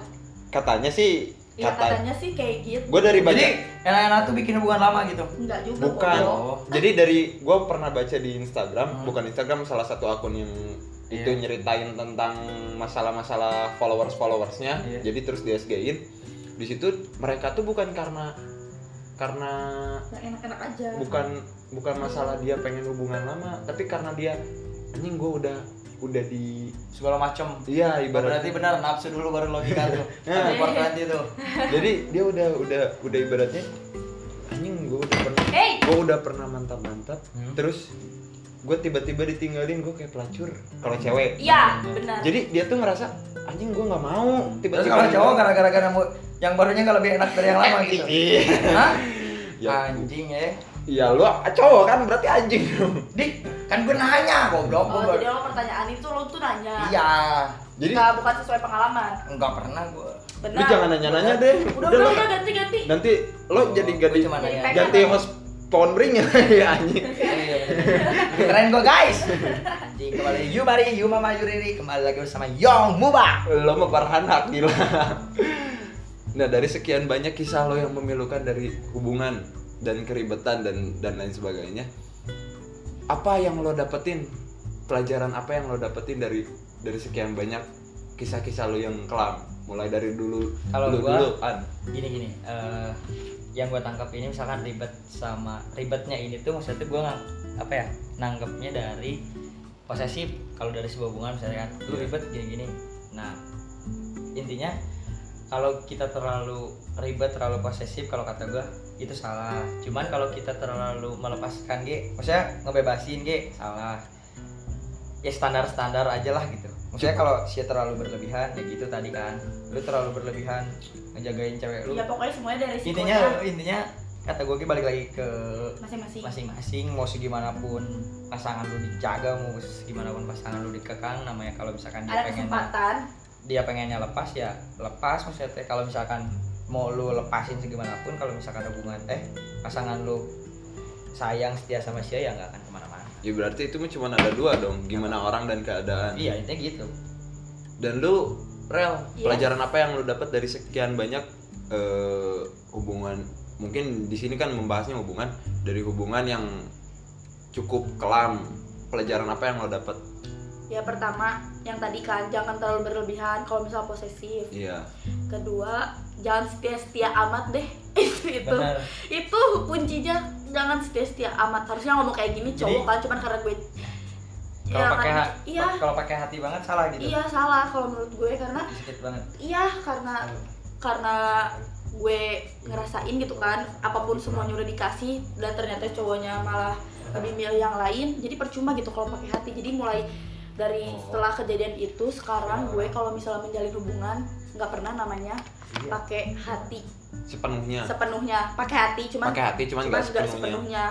Katanya sih
Iya
Kata-
katanya sih kayak gitu.
Gue dari Iya, baca. Iya.
Jadi enak-enak tuh bikin hubungan lama gitu.
Enggak juga.
Bukan.
goblok.
Jadi dari gue pernah baca di Instagram,
Hmm.
bukan Instagram salah satu akun yang itu
Iya.
nyeritain tentang masalah-masalah followers followersnya.
Iya.
Jadi terus di SG-in. Di situ mereka tuh bukan karena karena
Nggak enak-enak aja.
bukan bukan masalah dia pengen hubungan lama, tapi karena dia anjing gue udah udah di
Segala macam.
iya ibaratnya
Berarti benar nafsu dulu baru logika tuh.
Nah.
Tapi nanti tuh.
jadi dia udah udah udah ibaratnya anjing gue udah pernah
Hey,
gue udah pernah mantap mantap
Hmm.
terus gue tiba-tiba ditinggalin gue kayak pelacur kalau cewek
iya benar.
jadi dia tuh ngerasa anjing gue nggak mau
Terus
tiba-tiba
kalau cowok
kan
gara-gara gara mau yang barunya nggak lebih enak dari yang lama gitu. Hah?
Iya. Ya.
Anjing ya.
ya lu cowok kan berarti anjing dong.
Dik, kan gue nanya goblok
Oh,
gue.
jadi
baru-
lo pertanyaan itu lo tuh nanya.
Iya.
jadi
Nggak, bukan sesuai pengalaman.
Enggak pernah gue.
Benar.
lu jangan nanya-nanya deh
Udah
lu
udah udah ganti-ganti.
nanti lo jadi
Gua
ganti
cuma nanya.
Jadi
ganti host pohon bring ya anjing
Iya, bener. Keren gue guys. Anjing kembali lagi, Yumari, Yuma Yuriri kembali lagi bersama Yong Muba.
lo mah Farhan hak gila nah dari sekian banyak kisah lo yang memilukan dari hubungan dan keribetan dan dan lain sebagainya apa yang lo dapetin pelajaran apa yang lo dapetin dari dari sekian banyak kisah-kisah lo yang kelam mulai dari dulu
Kalau
dulu,
gua-
dulu an
gini gini eh, yang gue tangkap ini misalkan ribet sama ribetnya ini tuh maksudnya tuh gue apa ya nangkepnya dari posesif kalau dari sebuah hubungan misalnya kan lu ribet gini gini nah intinya kalau kita terlalu ribet terlalu posesif kalau kata gue itu salah cuman kalau kita terlalu melepaskan ge maksudnya ngebebasin ge salah ya standar standar aja lah gitu maksudnya kalau si terlalu berlebihan ya gitu tadi kan lu terlalu berlebihan ngejagain cewek lu
Ya pokoknya semuanya dari
intinya
risikonya
intinya kata gue balik lagi ke
masing-masing.
masing-masing mau segimana pun pasangan lu dijaga mau segimana pun pasangan lu dikekang namanya kalau misalkan dia
Ada
pengen
kesempatan.
dia pengennya lepas ya lepas maksudnya teh kalau misalkan mau lu lepasin segimanapun kalau misalkan hubungan eh pasangan lu sayang setia sama dia ya nggak akan kemana-mana
ya berarti itu mah cuma ada dua dong gimana orang dan keadaan
iya intinya gitu
dan lu rel
Iya.
pelajaran apa yang lu dapat dari sekian banyak eh, hubungan mungkin di sini kan membahasnya hubungan dari hubungan yang cukup kelam pelajaran apa yang lo dapat
Ya pertama yang tadi kan jangan terlalu berlebihan kalau misal posesif.
iya
Kedua, jangan setia-setia amat deh. itu itu.
benar
Itu kuncinya jangan setia-setia amat. Harusnya ngomong kayak gini cowok
Jadi-
kan cuman karena gue
kalau pakai
karena-
ha-
iya,
kalau pakai hati banget salah gitu
iya salah kalau menurut gue karena
sakit banget
iya karena karena gue ngerasain gitu kan apapun semuanya udah dikasih dan ternyata cowoknya malah lebih milih yang lain jadi percuma gitu kalau pakai hati jadi mulai dari
Oh.
setelah kejadian itu
Iya.
sekarang gue kalau misalnya menjalin hubungan nggak pernah namanya
Iya.
pakai hati
sepenuhnya
sepenuhnya pakai hati
Iya.
cuman
pakai hati cuman
cuman
gak
nggak
sepenuhnya.
sepenuhnya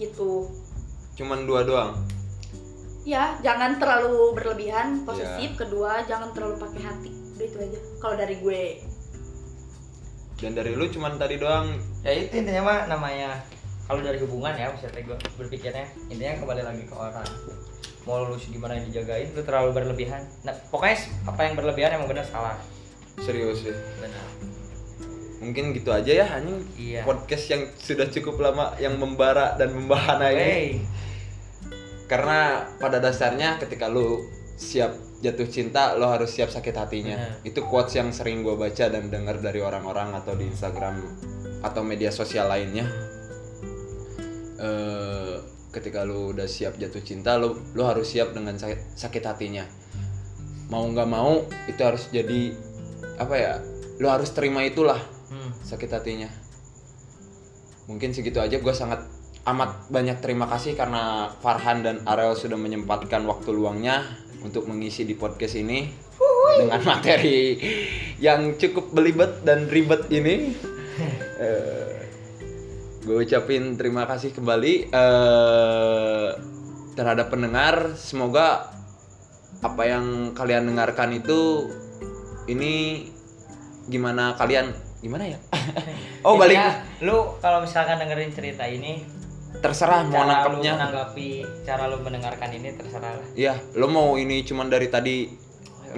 gitu
cuman dua doang
ya jangan terlalu
Iya.
berlebihan posesif kedua jangan terlalu pakai hati udah itu aja kalau dari gue
dan dari lu cuman tadi doang
ya itu intinya mah namanya kalau dari hubungan ya maksudnya gue berpikirnya intinya kembali lagi ke orang mau lu gimana dijagain lu terlalu berlebihan nah pokoknya apa yang berlebihan emang benar salah
serius sih
benar
mungkin gitu aja ya anjing
Iya.
podcast yang sudah cukup lama yang membara dan membahana ini
hey
karena pada dasarnya ketika lu siap jatuh cinta lo harus siap sakit hatinya itu quotes yang sering gue baca dan dengar dari orang-orang atau di Instagram atau media sosial lainnya eh ketika lu udah siap jatuh cinta lu lu harus siap dengan sakit sakit hatinya mau nggak mau itu harus jadi apa ya lu harus terima itulah
hmm.
sakit hatinya mungkin segitu aja gue sangat amat banyak terima kasih karena Farhan dan Arel sudah menyempatkan waktu luangnya untuk mengisi di podcast ini dengan materi yang cukup belibet dan ribet ini gue ucapin terima kasih kembali eh, terhadap pendengar semoga apa yang kalian dengarkan itu ini gimana kalian gimana ya oh balik
Intinya, ya, lu kalau misalkan dengerin cerita ini
terserah mau
cara lu
nangkapnya
menanggapi cara lu mendengarkan ini terserah lah
ya lo mau ini cuman dari tadi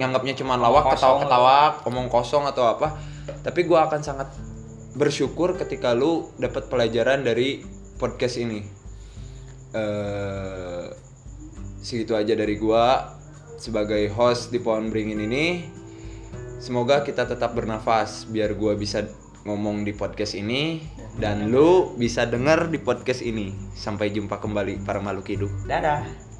nganggapnya cuman lawak
Omong kosong.
ketawa ketawa omong kosong atau apa tapi gua akan sangat bersyukur ketika lu dapat pelajaran dari podcast ini eh segitu aja dari gua sebagai host di pohon beringin ini semoga kita tetap bernafas biar gua bisa ngomong di podcast ini dan lu bisa denger di podcast ini sampai jumpa kembali para makhluk hidup
Dadah.